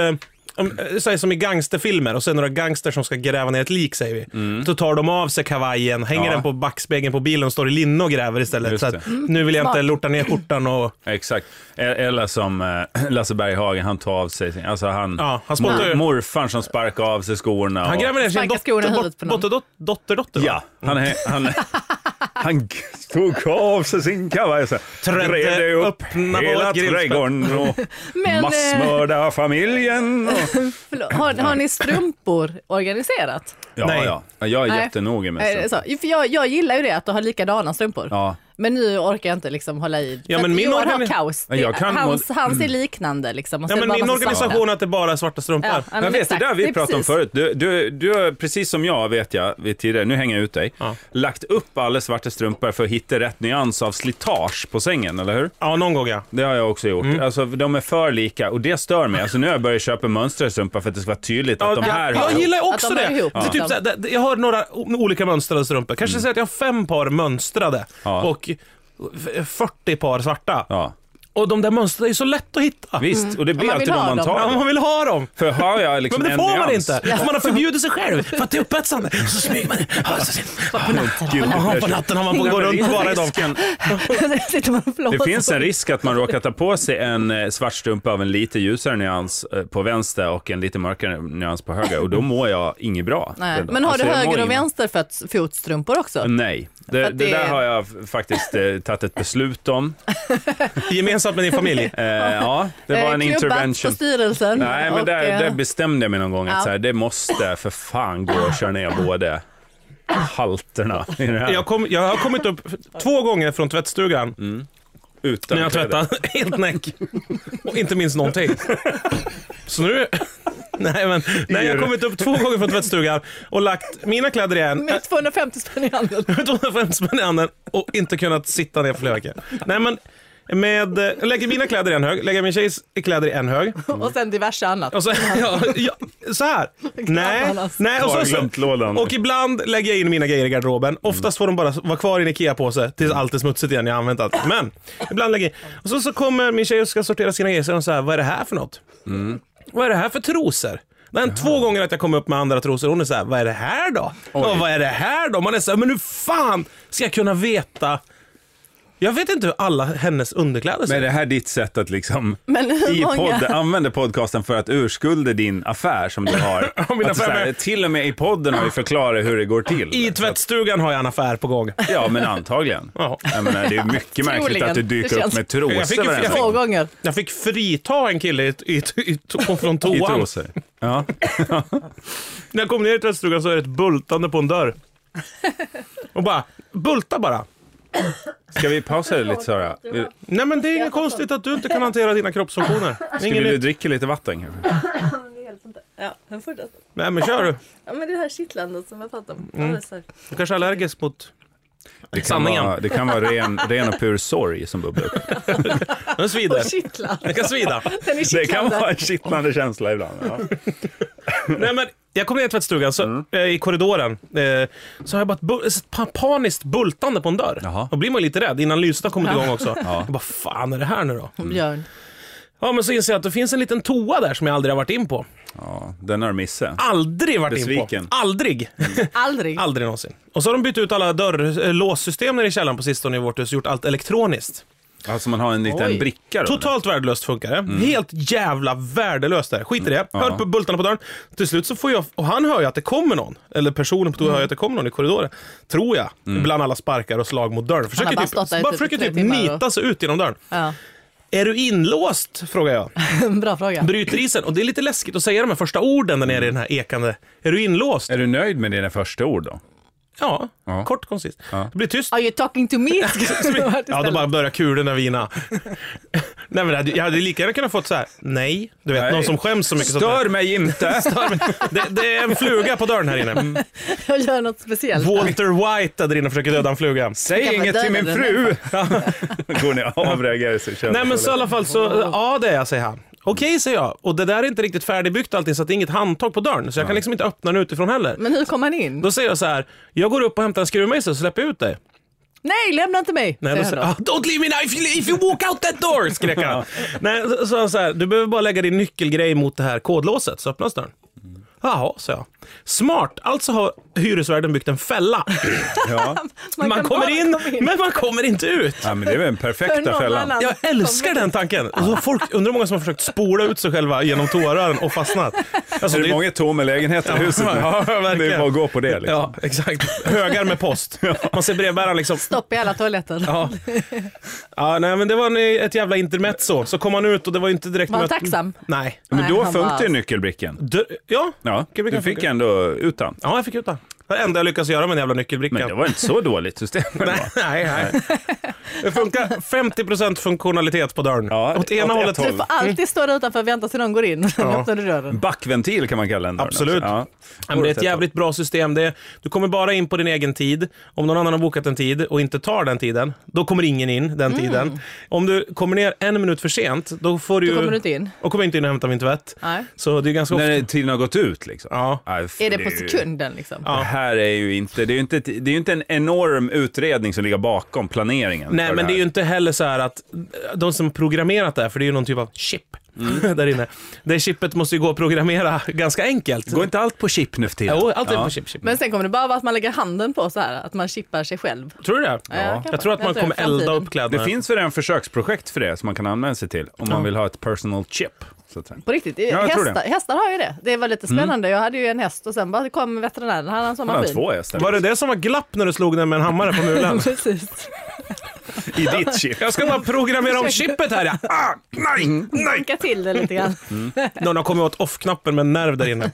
S1: om, eh, säg som i gangsterfilmer, och sen några gangster som ska gräva ner ett lik säger vi. Då tar de av sig kavajen, hänger
S3: Mm. Ja.
S1: den på backspegeln på bilen och står i linne och gräver istället.
S3: Just
S1: Så
S3: det.
S1: att, nu vill jag inte
S2: Smart.
S1: lorta ner skjortan och...
S3: Exakt. E- Eller som eh, Lasse Berghagen, han tar av sig, alltså han,
S1: Ja, han spottar ju-
S3: morfarn som sparkar av sig skorna.
S1: Han
S3: och,
S1: gräver ner sin
S2: Sparkar skorna i
S1: dotter,
S2: huvudet
S1: bot,
S2: på någon.
S1: botter, dot, dotterdotter va?
S3: Ja, han, är- han, han g- tog av sig sin kavaj och så
S1: Trädde
S3: trädde upp
S1: öppna på
S3: hela
S1: ett grillspett.
S3: trädgården och
S2: Men, eh,
S3: massmörda familjen. Och,
S1: eh,
S2: Förlåt, har, har ni strumpor organiserat?
S3: ja,
S1: Nej.
S3: ja, Ja, jag är
S2: Nej.
S3: jättenoga med
S2: Eh,
S3: strumpor.
S2: Så, för jag, jag gillar ju det att du har likadana strumpor.
S3: Ja.
S2: Men nu orkar jag inte liksom hålla i.
S1: Ja,
S2: För
S1: men
S2: att
S1: min
S2: Johan har
S1: organi-
S2: kaos.
S3: Ja, jag
S2: Det-
S3: kan-
S2: hans, hans är liknande liksom. Och så
S1: Ja,
S2: är
S1: men
S2: det bara
S1: min
S2: massa svarta.
S1: organisation att det bara är svarta strumpor.
S2: Ja, ja, men
S3: Jag vet,
S2: exakt.
S3: det där vi
S2: är
S3: pratade om
S2: precis.
S3: förut. Du, du, du har precis som jag, vet jag, vid tidigare, nu hänger jag ut dig,
S1: Ja.
S3: lagt upp alla svarta strumpor för att hitta rätt nyans av slitage på sängen, eller hur?
S1: Ja, någon gång ja.
S3: Det har jag också
S1: Mm.
S3: gjort. Alltså, de är för lika och det stör mig. Alltså, nu har jag börjat köpa mönsterstrumpor för att det ska vara tydligt att de
S1: Ja,
S3: här
S1: jag
S3: har...
S1: gillar ju
S2: Att
S1: också
S2: de hör
S1: det.
S2: ihop,
S1: det är typ
S2: liksom.
S1: såhär, det- jag har några o- olika mönstrade strumpor. Kanske säga att jag har fem par mönstrade
S3: Mm. Ja.
S1: och f- 40 par svarta.
S3: Ja,
S1: Och de där mönstren är ju så lätt att hitta.
S3: visst, och det blir
S2: man
S3: alltid
S2: vill
S3: de
S2: ha
S3: man
S1: Ja,
S3: tar.
S1: om man vill ha dem.
S3: För har jag liksom
S1: Men det
S3: en
S1: får man
S3: nyans-
S1: inte. För man har förbjudit sig själv för att det är upphetsande. Så smyger man in. Ja, så-
S2: På natten.
S3: Gud,
S2: På natten.
S1: Ja, på natten har man på
S3: Nej,
S1: gå
S3: men
S1: runt
S3: risken-
S1: bara i dem.
S2: Sitter man och
S3: Det
S2: blåser.
S3: finns en risk att man råkar ta på sig en eh, svart strumpa av en lite ljusare nyans eh, på vänster och en lite mörkare nyans på höger och då mår jag inget bra.
S2: Nej.
S3: den dagen.
S2: Men har
S3: Alltså,
S2: du
S3: jag mår
S2: höger och
S3: inget-
S2: vänsterfotstrumpor också?
S3: Nej, det,
S2: För
S3: det,
S2: att det-
S3: där har jag f- faktiskt eh, tagit ett beslut om.
S1: Gemensamt med din familj.
S3: Eh, ja, det var en
S2: Eh, klubbat
S3: intervention.
S2: på styrelsen.
S3: Nej, men
S2: och,
S3: där,
S2: eh,
S3: där bestämde jag mig någon gång att
S2: ja.
S3: så här, det måste för fan gå att köra ner både halterna i det här.
S1: Jag, kom, jag har kommit upp två gånger från tvättstugan
S3: utan
S1: när jag
S3: kläder.
S1: tvättat helt näck och inte minns någonting. Så nu... Nej, men, nej, jag har kommit upp två gånger från tvättstugan och lagt mina kläder i en,
S2: Med 250 spänn i handen.
S1: 250 spänn i handen och inte kunnat sitta ner för flera veckor. Nej, men med, eh, jag lägger mina kläder i en hög, lägger min tjejs kläder i en hög.
S2: Och sen diverse annat.
S1: Mm. Och så, ja, ja, så här. Nej,
S2: annars.
S1: nej och,
S3: alltså. Har
S1: så, så,
S3: glömt lådan.
S1: och ibland lägger jag in mina grejer i
S3: Mm.
S1: garderoben. Oftast får de bara vara kvar i en IKEA-påse tills allt är smutsigt igen. Jag har använt allt. Men ibland lägger jag in. Och så, så kommer min tjej och ska sortera sina grejer. Så är hon så här, vad är det här för något?
S3: Mm.
S1: Vad är det här för trosor? Den två gånger att jag kom upp med andra trosor, hon är såhär, vad är det här då? Och vad är det här då? Man är såhär, men hur fan ska jag kunna veta? Jag vet inte hur alla hennes underkläder ser
S3: Men
S1: ut.
S3: är det här ditt sätt att liksom
S2: Men hur
S3: i
S2: många-
S3: podden, använda podcasten för att urskulda din affär som du har?
S1: min
S3: att så
S1: affär
S3: här,
S1: med-
S3: till och med i podden har vi förklarat hur det går till.
S1: I tvättstugan har jag en affär på gång.
S3: Ja, men antagligen.
S1: Ja.
S3: Jag menar, det är mycket märkligt
S2: Troligen.
S3: att du dyker
S2: Det
S3: upp
S2: känns-
S3: med
S1: Jag fick
S3: trosor
S1: ju- jag
S3: varenda
S1: fick-
S2: Två
S3: gång.
S2: gånger.
S1: Jag fick frita en kille i, i, i, i, från
S3: I
S1: toan.
S3: trosor. Ja.
S1: När jag kom ner i tvättstugan så är det ett bultande på en dörr. Och bara, bulta bara.
S3: Ska vi pausa det lite Sara?
S2: Ja.
S1: Nej men det är inget konstigt att du inte kan hantera dina kroppsfunktioner.
S3: Ska
S1: Ingen
S3: du
S1: nytt.
S3: dricka lite vatten kanske?
S2: Ja, men fortsätt.
S1: Nej men kör du.
S2: Ja, men det här kittlandet som jag pratade om. Ja, det är så här.
S1: Du kanske är allergisk mot...
S3: Det kan
S1: Sanningen.
S3: vara, det kan vara ren, ren och pur sorg som bubblar upp.
S1: Den svider.
S2: Kittlar.
S1: Den kan svida.
S2: Den är
S3: Det
S2: kittlande.
S3: kan vara en kittlande känsla ibland. Ja.
S1: Nej, men jag kom ner i tvättstugan så,
S3: Mm.
S1: eh, i korridoren. Eh, så har jag bara ett, bu- ett pa- paniskt bultande på en dörr.
S3: Jaha.
S1: Då blir man ju lite rädd innan lyset har kommit igång också. Jag bara, fan är det här nu då?
S2: Björn.
S1: Ja, men så inser jag att det finns en liten toa där som jag aldrig har varit in på.
S3: Ja, den har du missat.
S1: Aldrig varit in
S3: Besviken.
S1: på. Aldrig.
S2: Aldrig.
S1: aldrig någonsin. Och så har de bytt ut alla dörr- eh, låssystem nere i källaren på sistone i vårt hus och gjort allt elektroniskt.
S3: Alltså man har en liten
S2: Oj.
S3: bricka då.
S1: Totalt värdelöst funkar det. Helt jävla värdelöst där. Skit i det. Hör
S3: Mm. Ja.
S1: på bultarna på dörren. Till slut så får jag, och han hör ju att det kommer någon. Eller personen på toan hör ju att det kommer någon i korridoren. Tror jag.
S3: Mm.
S1: Bland alla sparkar och slag mot dörren. Försöker
S2: bara
S1: typ,
S2: stått där i
S1: bara
S2: typ
S1: försöker
S2: tre
S1: typ
S2: timmar och-
S1: nita sig ut genom dörren.
S2: Ja.
S1: Är du inlåst? Frågar jag.
S2: Bra fråga.
S1: Bryter isen. Och det är lite läskigt att säga de här första orden där nere i den här ekande. Är du inlåst?
S3: Är du nöjd med dina första ord då?
S1: Ja.
S3: Ja.
S1: Kort koncist. Det blir tyst.
S2: Are you talking to me? Skulle det ha varit
S1: Ja, då
S2: istället.
S1: bara börjar kulorna vina. Nej, men jag hade- jag hade lika gärna kunnat fått så här. nej, du vet,
S3: Nej.
S1: någon som skäms så mycket. sånt där.
S3: Stör mig inte!
S1: Det, det är en fluga på dörren här
S3: Mm.
S1: inne.
S2: Jag gör något speciellt.
S1: Walter White är där inne och försöker döda en fluga.
S3: Säg
S2: kan vara
S3: inget till
S2: död
S3: min
S2: eller
S3: fru! Går ni och avreagerar så känner
S1: Nej men så i
S3: jag
S1: alla fall så, ja det är jag säger han. Okej säger jag, och det där är inte riktigt färdigbyggt allting så att det är inget handtag på dörren så jag kan liksom inte öppna den utifrån heller.
S2: Men hur kom han in?
S1: Då säger jag så här, jag går upp och hämtar en skruvmejsel och släpper jag ut dig.
S2: Nej, lämna inte mig!
S1: Nej, då,
S2: säger
S1: säger-
S2: han
S1: ah, don't leave me now if you, if you walk out that door, skrek han. Nej, så, så, han så här, du behöver bara lägga din nyckelgrej mot det här kodlåset så öppnas dörren.
S2: Mm.
S1: Jaha, sa jag. Smart, alltså har hyresvärden byggt en fälla.
S3: då. Ja.
S2: då.
S1: Ah, Man,
S2: kan
S1: kommer
S2: bara
S1: in,
S2: komma
S1: men man kommer inte ut.
S3: ja, men det är väl den
S2: För
S3: perfekta
S2: någon
S3: fällan.
S2: annan.
S1: Jag älskar den tanken. Alltså, folk, undrar hur många som har försökt spola ut sig själva genom tårören och fastnat. Alltså,
S3: Så det är många tomma lägenheter i huset nu.
S1: Ja, verkligen.
S3: Det är bara att gå på det. Liksom.
S1: Ja, exakt. Högar med post. Man ser brevbäraren liksom.
S2: Stopp i alla toaletter.
S1: Ja. ja, nej men det var en, ett jävla intermezzo. Så kom han ut och det var ju inte direkt...
S2: Var han
S1: möt-
S2: tacksam?
S1: Nej.
S3: Men då
S2: han
S3: funkar
S2: bara-
S3: ju nyckelbrickan.
S1: Du, ja.
S3: Ja,
S1: Gud, vilken
S3: du fick
S1: funkar.
S3: ändå utan.
S1: ja, jag fick ut den. Det var det enda jag lyckades göra med den jävla nyckelbrickan.
S3: Men det var inte så dåligt system. ändå.
S1: Nej, nej, nej. Det funkar 50% funktionalitet på dörren.
S3: Ja,
S1: åt ena
S3: åt
S1: hållet.
S3: ett håll.
S2: Du får alltid stå där utanför och vänta tills någon går in. Sen öppnar du dörren.
S3: Backventil kan man kalla den. dörren
S1: Absolut.
S3: också. Ja.
S1: Ja, men det är ett
S3: Oavsett
S1: jävligt bra system. Det är, du kommer bara in på din egen tid. Om någon annan har bokat en tid och inte tar den tiden, då kommer ingen in
S2: Mm.
S1: den tiden. Om du kommer ner en minut för sent, då får du
S2: Då
S1: ju...
S2: kommer du inte in.
S1: Och kommer inte in och hämtar min tvätt.
S2: Nej.
S1: Så det är ganska
S3: vad.
S1: ofta...
S3: När tiden har gått ut liksom.
S1: Ja.
S2: Är det på sekunden liksom?
S1: Ja.
S3: Det här är ju inte, det är ju inte, ett- det är ju inte en enorm utredning som ligger bakom planeringen.
S1: Nej,
S3: för
S1: men det är
S3: här.
S1: ju inte heller så här att de som programmerat det här, för det är ju någon typ av chip
S3: Mm.
S1: där inne. Det chippet måste ju gå att programmera ganska enkelt.
S3: Går inte allt på chip nu för tiden?
S1: Jo, allt är
S3: Ja.
S1: på chip, chip.
S2: Men sen kommer det bara vara att man lägger handen på så här, att man chippar sig själv.
S1: Tror du det?
S2: kanske.
S1: Jag tror att
S2: Jag
S1: man
S2: tror
S1: kommer
S2: i framtiden.
S1: elda upp kläderna.
S3: Det finns väl en försöksprojekt för det som man kan använda sig till om man vill ha ett personal chip. Så att säga.
S2: På riktigt.
S3: jag tror Mm.
S2: hästar, hästar har ju det. Det var lite spännande. Jag hade ju en häst och sen bara kom veterinären. Han hade en sån
S3: Man har
S2: maskin.
S3: två hästar
S1: Var det det som var glapp när du slog den med en hammare på mulen?
S2: Precis.
S3: i ditt chip. Mm.
S1: Jag ska bara programmera om chippet här ja. Ah, nej, nej.
S2: Tänka till det lite grann.
S1: Någon har kommit åt off-knappen med en nerv där inne.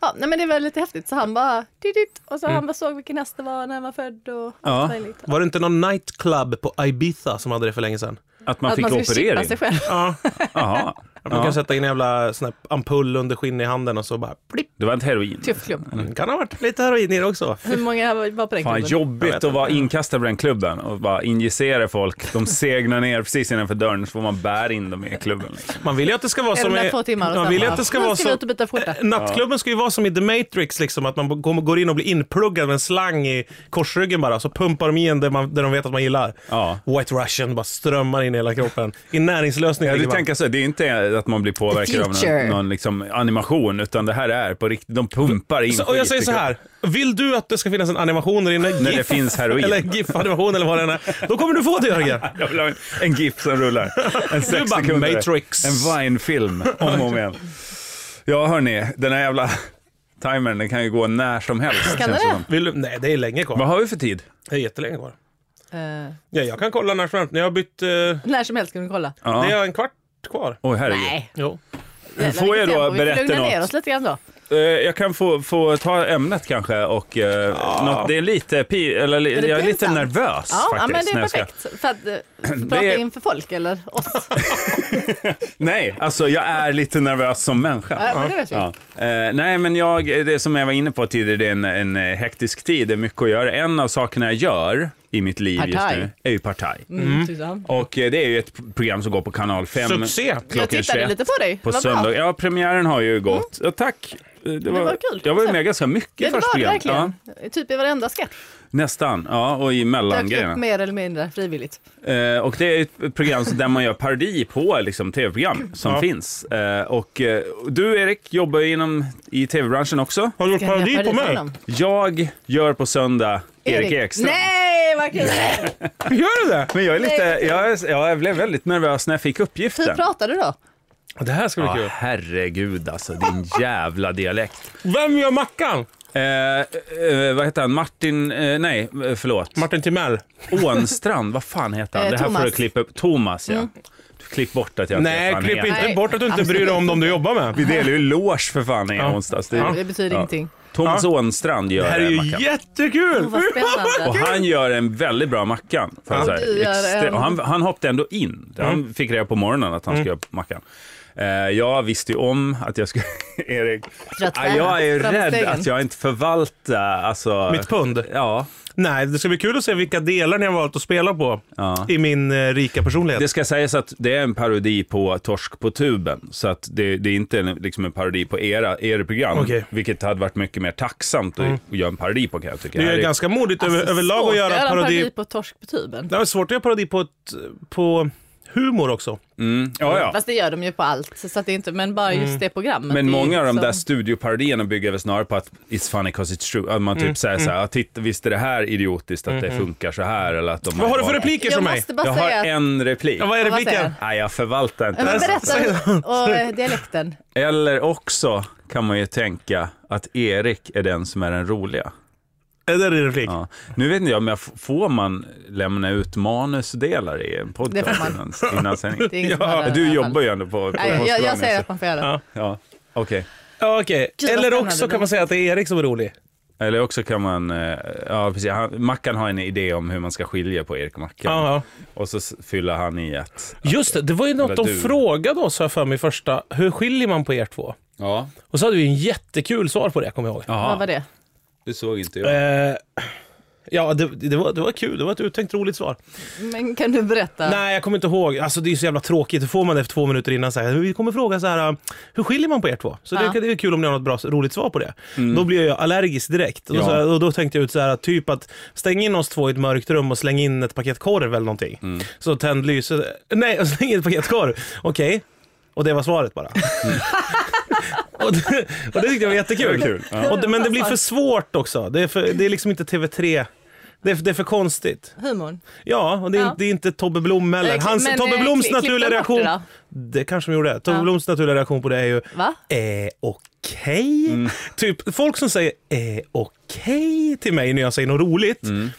S2: Ja, nej, men det var lite häftigt. Så han bara... Didit, och så
S3: Mm.
S2: han bara såg vilken häst det var när han var född och allt möjligt.
S1: Var det inte någon nightclub på Ibiza som hade det för länge sedan?
S3: Att man
S2: Att
S3: fick
S2: man ska chippa
S3: operering.
S2: sig själv.
S1: Ja.
S3: Jaha.
S1: Man kan sätta in en jävla sån här ampull under skinn i handen och så bara plipp.
S3: Det var inte heroin.
S2: Tuff klubb.
S1: Det kan ha varit lite heroin i det också.
S2: Typ Hur många var var på den
S3: Fan
S2: klubben?
S1: Jag
S3: jobbigt
S1: vet
S3: att vara inkastad på den klubben och bara injicera folk. De segnar ner precis innanför dörren så får man bära in dem i klubben. Liksom.
S1: Man vill ju att det ska vara
S2: Är
S1: som
S2: de där
S1: i...
S2: två timmar och
S1: Man
S2: sen
S1: vill ju
S2: bara,
S1: att det ska
S2: "Nu
S1: vara
S2: vi
S1: som...
S2: ut och byta skjorta.
S1: Nattklubben ska ju vara som i The Matrix, liksom, att man går in och blir inpluggad med en slang i korsryggen bara, så pumpar de in det, man, det de vet att man gillar.
S3: Ja.
S1: White Russian bara strömmar in i hela kroppen. I liksom. näringslösning.
S3: Ja, du
S1: ligger man.
S3: tänker så, det är inte att man blir påverkad av någon,
S2: Future.
S3: någon liksom animation, utan det här är på riktigt, de pumpar in
S1: Så, och jag
S3: skit
S1: säger
S3: i
S1: så här, vill du att det ska finnas en animation där inne,
S3: När det finns heroin.
S1: eller GIF-animation eller vad det än är, då kommer du få det Jörgen.
S3: kroppen. Jag vill ha en, en GIF som rullar. En sex
S1: bara,
S3: sekunder.
S1: Matrix.
S3: En Vine-film, om och om igen. Ja, hörni, den här jävla timern, den kan ju gå när som helst.
S2: Kan
S3: känns
S2: den
S3: det
S2: det?
S3: som.
S1: Vill du? Nej, det är länge
S3: Vad
S1: kvar.
S3: har vi för tid?
S1: Det är jättelänge kvar.
S2: Eh,
S1: Ja, jag kan kolla när som helst, när jag har bytt, eh,
S2: när som helst kan du kolla.
S3: Ja.
S1: det är en kvart kvar.
S3: Åh, herregud.
S2: Nej.
S1: Jo.
S3: Får jag då berätta
S2: Vi får lugna ner
S3: något?
S2: oss lite grann då.
S3: Eh, Jag kan få, få ta ämnet kanske och eh, något, det är lite, pi, eller, li-
S2: det
S3: jag är lite
S2: pinsamt?
S3: nervös
S2: Ja, ja,
S3: faktiskt.
S2: men det
S3: när
S2: är
S3: jag ska-
S2: perfekt. För att eh, prata
S3: är-
S2: inför folk eller oss.
S3: Nej, alltså jag är lite nervös som människa.
S2: Ja, men det vet vi.
S3: Ja. Eh, nej, men jag, det som jag var inne på tidigare, det är en, en eh, hektisk tid, det är mycket att göra. En av sakerna jag gör i mitt liv just
S2: Partaj.
S3: nu är ju Partaj.
S2: Mm. tusan.
S3: Och eh, det är ju ett program som går på kanal 5.
S1: Succé!
S2: Jag tittade lite på dig.
S3: På
S2: Vad bra. Mm.
S3: söndag. Ja, premiären har ju gått. Ja, tack. Eh, Det var,
S2: var kul.
S3: Jag var ju
S2: Så.
S3: med ganska mycket
S2: Ja,
S3: i
S2: det
S3: första
S2: var det
S3: programmet.
S2: verkligen. Typ i varenda sketch.
S3: Ja, nästan. Ja, och i
S2: Dök upp
S3: mellangrejerna.
S2: mer eller mindre frivilligt.
S3: Eh, och det är ett program som- där man gör parodi på liksom, tv-program som
S1: Ja.
S3: finns. Eh, och eh, du Erik jobbar ju inom, i tv-branschen också.
S1: Har du gjort
S2: Ska jag
S1: parodi
S2: göra
S1: på
S2: det
S1: mig?
S2: honom?
S3: Jag gör på söndag Erik, Ekström.
S2: Nej, vad kul!
S1: Gör du det?
S3: Men jag, är lite,
S2: Nej.
S3: jag, är, jag blev väldigt nervös när jag fick
S2: Hur
S3: uppgiften.
S2: pratar du då?
S1: Det här ska bli
S3: Ja,
S1: kul.
S3: herregud alltså, din jävla dialekt.
S1: Vem gör Mackan?
S3: Eh, eh, vad heter han? Martin, eh, nej eh, förlåt.
S1: Martin Timell.
S3: Ånstrand, vad fan heter han?
S2: Eh,
S3: det här får du
S2: Thomas. Mm.
S3: klippa upp. Thomas ja. Du klipp bort att jag inte vet
S1: Nej,
S3: vad han
S1: klipp
S3: heter.
S1: inte
S2: Nej,
S1: bort att du inte
S2: absolut
S1: bryr dig om dem du jobbar med.
S3: Vi delar ju loge för fan i
S1: Ja.
S3: onsdags. Det,
S2: Det,
S3: är-
S2: det betyder
S3: Ja.
S2: ingenting.
S3: Thomas
S1: Ja.
S3: Ånstrand gör
S1: Det
S3: det
S1: här är ju
S3: Mackan.
S1: jättekul!
S2: Åh, vad spännande.
S3: Och han gör en väldigt bra Mackan. får jag
S1: Ja. Mm.
S3: säga.
S2: Du gör
S3: Extre-
S2: en-
S3: och han, han hoppade ändå in. Han fick reda på morgonen att han skulle göra Mackan. Eh, jag visste ju om att jag skulle... Erik,
S2: Trött
S3: ja, jag är
S2: fram
S3: rädd
S2: stegen.
S3: att jag inte förvaltar... Alltså,
S1: Mitt pund.
S3: Ja,
S1: Nej, det ska bli kul att se vilka delar ni har valt att spela på
S3: Ja.
S1: i min eh, rika personlighet.
S3: det ska sägas att det är en parodi på Torsk på tuben. Så att det, det är inte en, liksom en parodi på era, era program.
S1: Okej. Mm.
S3: Vilket hade varit mycket mer tacksamt att, att göra en parodi på kan jag tycka.
S1: Det
S3: Här
S1: är
S3: är-
S1: ganska modigt över,
S2: Alltså,
S1: överlag
S2: svårt
S1: att göra
S2: en
S1: parodi.
S2: på torsk på tuben.
S1: Det är svårt att göra parodi på, ett, på humor också.
S3: Mm, ja, ja.
S2: Fast det gör de ju på allt, så att det är inte, men bara just det programmet.
S3: Men
S2: det är
S3: många av de
S2: liksom-
S3: där studioparodierna bygger väl snarare på att it's funny 'cause it's true. Att
S2: Mm,
S3: man typ säger så här, "Ah, titta visst är det här idiotiskt att
S2: Mm-hmm.
S3: det funkar så här eller att de
S1: Vad har du
S3: bara-
S1: för repliker
S2: Jag
S1: som mig?
S2: måste bara
S3: Jag har
S2: säga att...
S3: en replik.
S1: Ja, vad är
S2: Vad säger
S1: repliken?
S2: jag?
S3: Nej, jag förvaltar inte.
S2: Ja, Men
S3: den.
S2: berätta och eh, dialekten.
S3: Eller också kan man ju tänka att Erik är den som är den roliga.
S1: Är det din replik?
S3: Ja. Nu vet inte jag, men jag f- får man lämna ut manusdelar i en podcast
S2: Det får man.
S3: innan, innan sändning?
S2: Det är ingen som
S1: Ja,
S2: hör det i alla
S3: Du
S2: fall.
S3: jobbar ju ändå på, på
S2: Nej, jag, jag, jag
S3: restaurang,
S2: säger
S3: så-
S2: att man får göra det.
S1: Ja.
S3: Ja, okej.
S1: Ja, Okej.
S2: vad
S1: Eller
S2: spännande
S1: också
S2: det
S1: kan man säga att det är Erik som är rolig.
S3: Eller också kan man, eh, ja precis, han, Mackan har en idé om hur man ska skilja på Erik och Mackan.
S1: Ja,
S3: Och så s- fyller han i ett.
S1: ja. Just det, det var ju något
S3: Eller
S1: de
S3: du.
S1: frågade oss här för mig första. Hur skiljer man på er två?
S3: Ja.
S1: Och så hade vi en jättekul svar på det, kommer jag ihåg.
S2: Vad var det?
S3: det såg inte jag.
S1: Eh, ja, det, det, var, det var kul. Det var ett uttänkt roligt svar.
S2: Men kan du berätta?
S1: Nej, jag kommer inte ihåg. Alltså, det är så jävla tråkigt. Då får man det efter två minuter innan. Så här, vi kommer fråga så här, hur skiljer man på er två? Så
S2: Ja.
S1: det, det är kul om ni har något bra, roligt svar på det. Då blir jag allergisk direkt. Och,
S3: Mm. Ja.
S1: så här, och då tänkte jag ut så här, typ att stäng in oss två i ett mörkt rum och släng in ett paket korv eller någonting.
S3: Mm.
S1: Så tänd lyset. Nej, och släng in ett paket korv. Okej. Och det var svaret bara. och, det, och det tyckte jag var jättekul.
S3: Mm. Det var kul, ja.
S1: Och det, men det blir för svårt också. Det är, för, det är liksom inte TV3. Det är, det är för konstigt.
S2: Humorn?
S1: Ja, och det är,
S2: Ja.
S1: inte- det är inte Tobbe Blom heller.
S2: Eh,
S1: Hans,
S2: men,
S1: Tobbe
S2: eh,
S1: Bloms
S2: kli- klippte
S1: naturliga
S2: de bort
S1: reaktion...
S2: det
S1: Det, kanske de gjorde. Tobbe
S2: Ja.
S1: Bloms naturliga reaktion på det är ju...
S2: Va?
S1: Eh, okej?
S3: Mm.
S1: Typ, folk som säger eh, okej till mig när jag säger något roligt.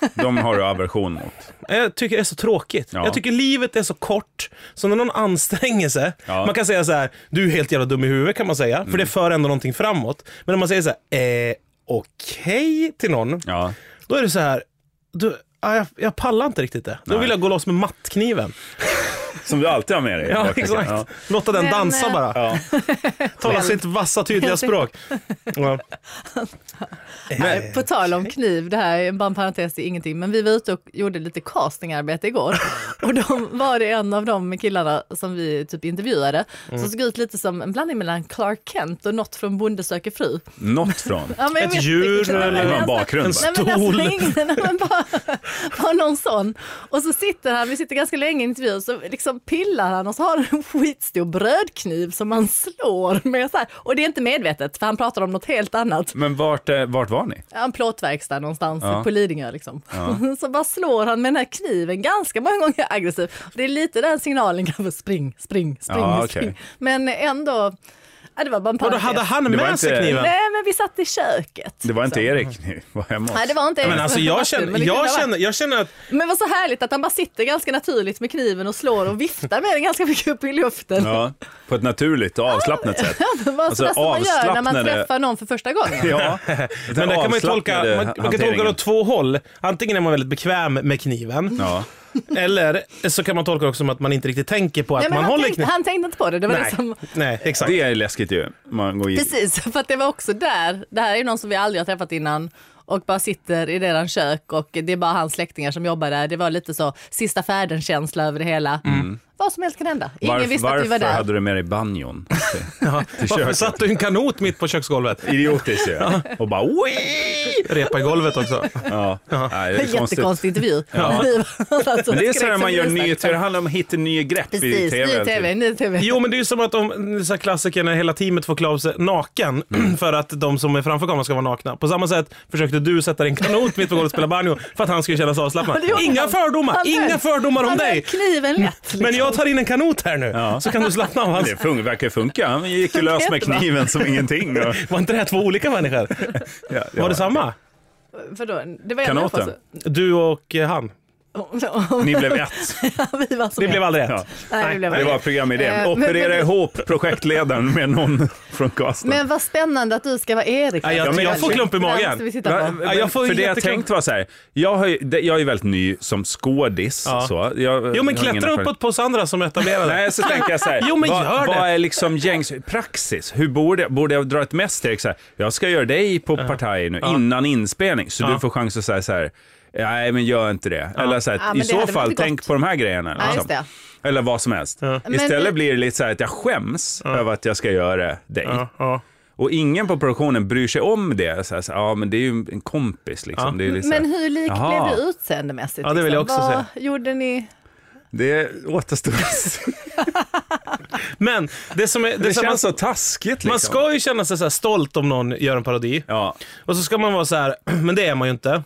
S3: Mm. De har du aversion mot.
S1: Jag tycker det är så tråkigt.
S3: Ja.
S1: Jag tycker livet är så kort, så när någon anstränger sig.
S3: Ja. Mm.
S1: Man kan säga så här, du är helt jävla dum i huvudet kan man säga, för det för ändå någonting framåt. Men när man säger så här, eh, okej till någon,
S3: Ja.
S1: då är det så här, du, ah, jag, jag pallar inte riktigt det. Då
S3: Nej.
S1: vill jag gå loss med mattkniven.
S3: Som du alltid har med dig.
S1: Ja,
S3: Jag kan-
S1: exakt.
S3: Ja.
S1: Låta den
S2: Men,
S1: dansa
S2: eh,
S1: bara.
S3: Ja.
S1: Tala sitt vassa tydliga språk. Ja.
S2: Nej, Eh, på tal om kniv, det här är bara en parentes, det är ingenting, men vi var ute och gjorde lite castingarbete igår och då var det en av de killarna som vi typ intervjuade
S1: Mm.
S2: som såg ut lite som en blandning mellan Clark Kent och något från Bonde söker fru.
S3: Något från.
S2: Ja, men jag
S1: Ett
S2: vet
S1: djur
S2: inte.
S1: eller
S3: Det var en
S2: alltså-
S3: bakgrund.
S1: En
S3: va?
S2: Nej, men alltså,
S1: Stol.
S2: ingen- nej, men bara, bara någon sån. Och så sitter han, vi sitter ganska länge i intervjun, så liksom pillar han och så har han en skitstor brödkniv som han slår med. Så här. Och det är inte medvetet, för han pratar om något helt annat.
S3: Men vart, eh, vart var ni?
S2: Ja, en plåtverkstad någonstans
S3: Ja.
S2: på Lidingö liksom. Så bara slår han med den här kniven ganska många gånger aggressivt. Det är lite den signalen kanske, spring, spring, spring,
S3: Ja,
S2: spring.
S3: okej.
S2: Men ändå, Ja, det var bara en
S1: Och då
S2: parentes.
S1: hade han
S3: Det var
S1: med sig
S3: inte-
S1: kniven?
S2: Nej, men vi satt i köket.
S3: Det var inte
S2: Så.
S3: Erik ni var hemma hos.
S2: Nej, det var inte Erik.
S1: Men alltså jag
S2: Men
S1: känner,
S2: det kunde ha
S1: jag
S2: varit.
S1: känner, jag känner att
S2: Men det var så härligt att han bara sitter ganska naturligt med kniven och slår och viftar med den ganska mycket upp i luften.
S3: Ja, på ett naturligt och avslappnat sätt.
S2: Det var
S3: Alltså,
S2: sådär som man gör när man
S3: avslappnade-
S2: träffar någon för första gången.
S3: Ja,
S1: Men det kan man, ju tolka, man, man kan tolka det åt två håll. Antingen är man väldigt bekväm med kniven,
S3: Ja.
S1: eller så kan man tolka det också som att man inte riktigt tänker på att
S2: Nej, men
S1: man
S2: han,
S1: håller
S2: tänkte,
S1: kniven.
S2: han tänkte inte på det. det var
S1: Nej,
S2: liksom,
S1: nej, exakt.
S3: Det är läskigt ju. Man går in.
S2: precis, för att det var också där. Det här är ju någon som vi aldrig har träffat innan och bara sitter i deras kök och det är bara hans släktingar som jobbar där. Det var lite så sista färden-känsla över det hela. Vad som helst kan hända. Ingen
S3: Varf-
S2: visste att vi var
S3: varför
S2: där.
S3: hade du med dig banjon?
S1: Ja.
S3: Till
S1: Varför
S3: köket.
S1: satt du i en kanot mitt på köksgolvet?
S3: Idiotiskt ju. Och bara oj!
S1: Repa i golvet också.
S3: Ja. Nej, det är konstigt.
S2: Jättekonstig intervju.
S1: Ja.
S2: Vi var alltså
S3: Men det är
S2: skräck
S3: så här
S2: som
S3: man gör
S2: vi
S3: nyheter, det
S2: sagt.
S3: handlar om att hitta nya grepp i
S2: Precis,
S3: tv.
S2: ny
S3: alltid.
S2: tv. Ny TV.
S1: Jo, men det är ju som att de så här klassikerna, hela teamet får klä av sig naken
S3: Mm.
S1: för att de som är framför kameran ska vara nakna. På samma sätt försökte du sätta dig i en kanot mitt på golvet och spela banjo för att han skulle känna sig avslappnad.
S2: Ja, det gjorde
S1: Inga
S2: han.
S1: fördomar,
S2: Han
S1: inga
S2: höll-
S1: fördomar om
S2: Han höll
S1: dig.
S2: kniven lätt.
S1: Men jag tar in en kanot här nu,
S3: Ja.
S1: så kan du slappna av.
S3: Det fun- verkar funka. Han gick ju lös med kniven som ingenting. Och,
S1: Var inte det här två olika människor?
S3: ja, ja.
S1: Var det samma?
S2: Vadå? liksom. Det var en
S3: Kanoten.
S2: träff
S1: Du och eh, han.
S2: alltså.
S3: Ni blev ett.
S2: vi var så
S1: Det blev aldrig rätt.
S3: Ja.
S2: Nej, det blev
S3: Det var
S2: aldrig.
S3: programidén.
S2: Eh, men-
S3: Operera
S2: men-
S3: ihop projektledaren med någon från Karlstad.
S2: Men vad spännande att du ska vara Erik.
S1: Ja, jag-
S2: Alltså,
S1: jag
S2: det
S1: får
S2: är-
S1: klump i
S2: det där
S1: magen.
S2: måste vi titta på.
S3: Va- men
S1: jag får
S3: för
S1: ju
S3: det jag
S1: jättekul-
S3: tänkt var så här, jag, har ju, det- jag är ju väldigt ny som skådis.
S1: Ja.
S3: Så. Jag,
S1: Jo men
S3: jag har ingen
S1: klättra
S3: erfarenhet.
S1: uppåt på oss andra som är etablerade.
S3: Nej, så tänker jag så här,
S1: Jo, men
S3: vad,
S1: gör det.
S3: vad är liksom gängs praxis? Hur borde, jag- borde jag dra ett mest steg så här, jag ska göra dig på partaj nu innan inspelning, så
S1: Ja.
S3: du får chans att säga så här, nej men gör inte det. Eller så här,
S2: Ja, men
S3: i
S2: det
S3: så
S2: hade
S3: fall,
S2: varit gott.
S3: tänk på de här grejerna. Alltså,
S2: Ja, just det.
S3: Eller vad som helst. Istället
S2: Men-
S3: blir det lite så här att jag skäms över att jag ska göra dig.
S1: Ja, ja.
S3: Och ingen på produktionen bryr sig om det. Så här, så här, ja, men det är ju en kompis liksom. Det är lite så här,
S2: Men hur lik
S3: Jaha.
S2: blev du utseendemässigt?
S1: Ja, det vill jag
S2: liksom?
S1: också
S2: Vad gjorde ni?
S3: Det återstår att se.
S1: Men det som är... Det
S3: Det
S1: som
S3: känns
S1: man,
S3: så taskigt liksom.
S1: man ska ju känna sig så här stolt om någon gör en parodi.
S3: Ja.
S1: Och så ska man vara så här, men det är man ju inte.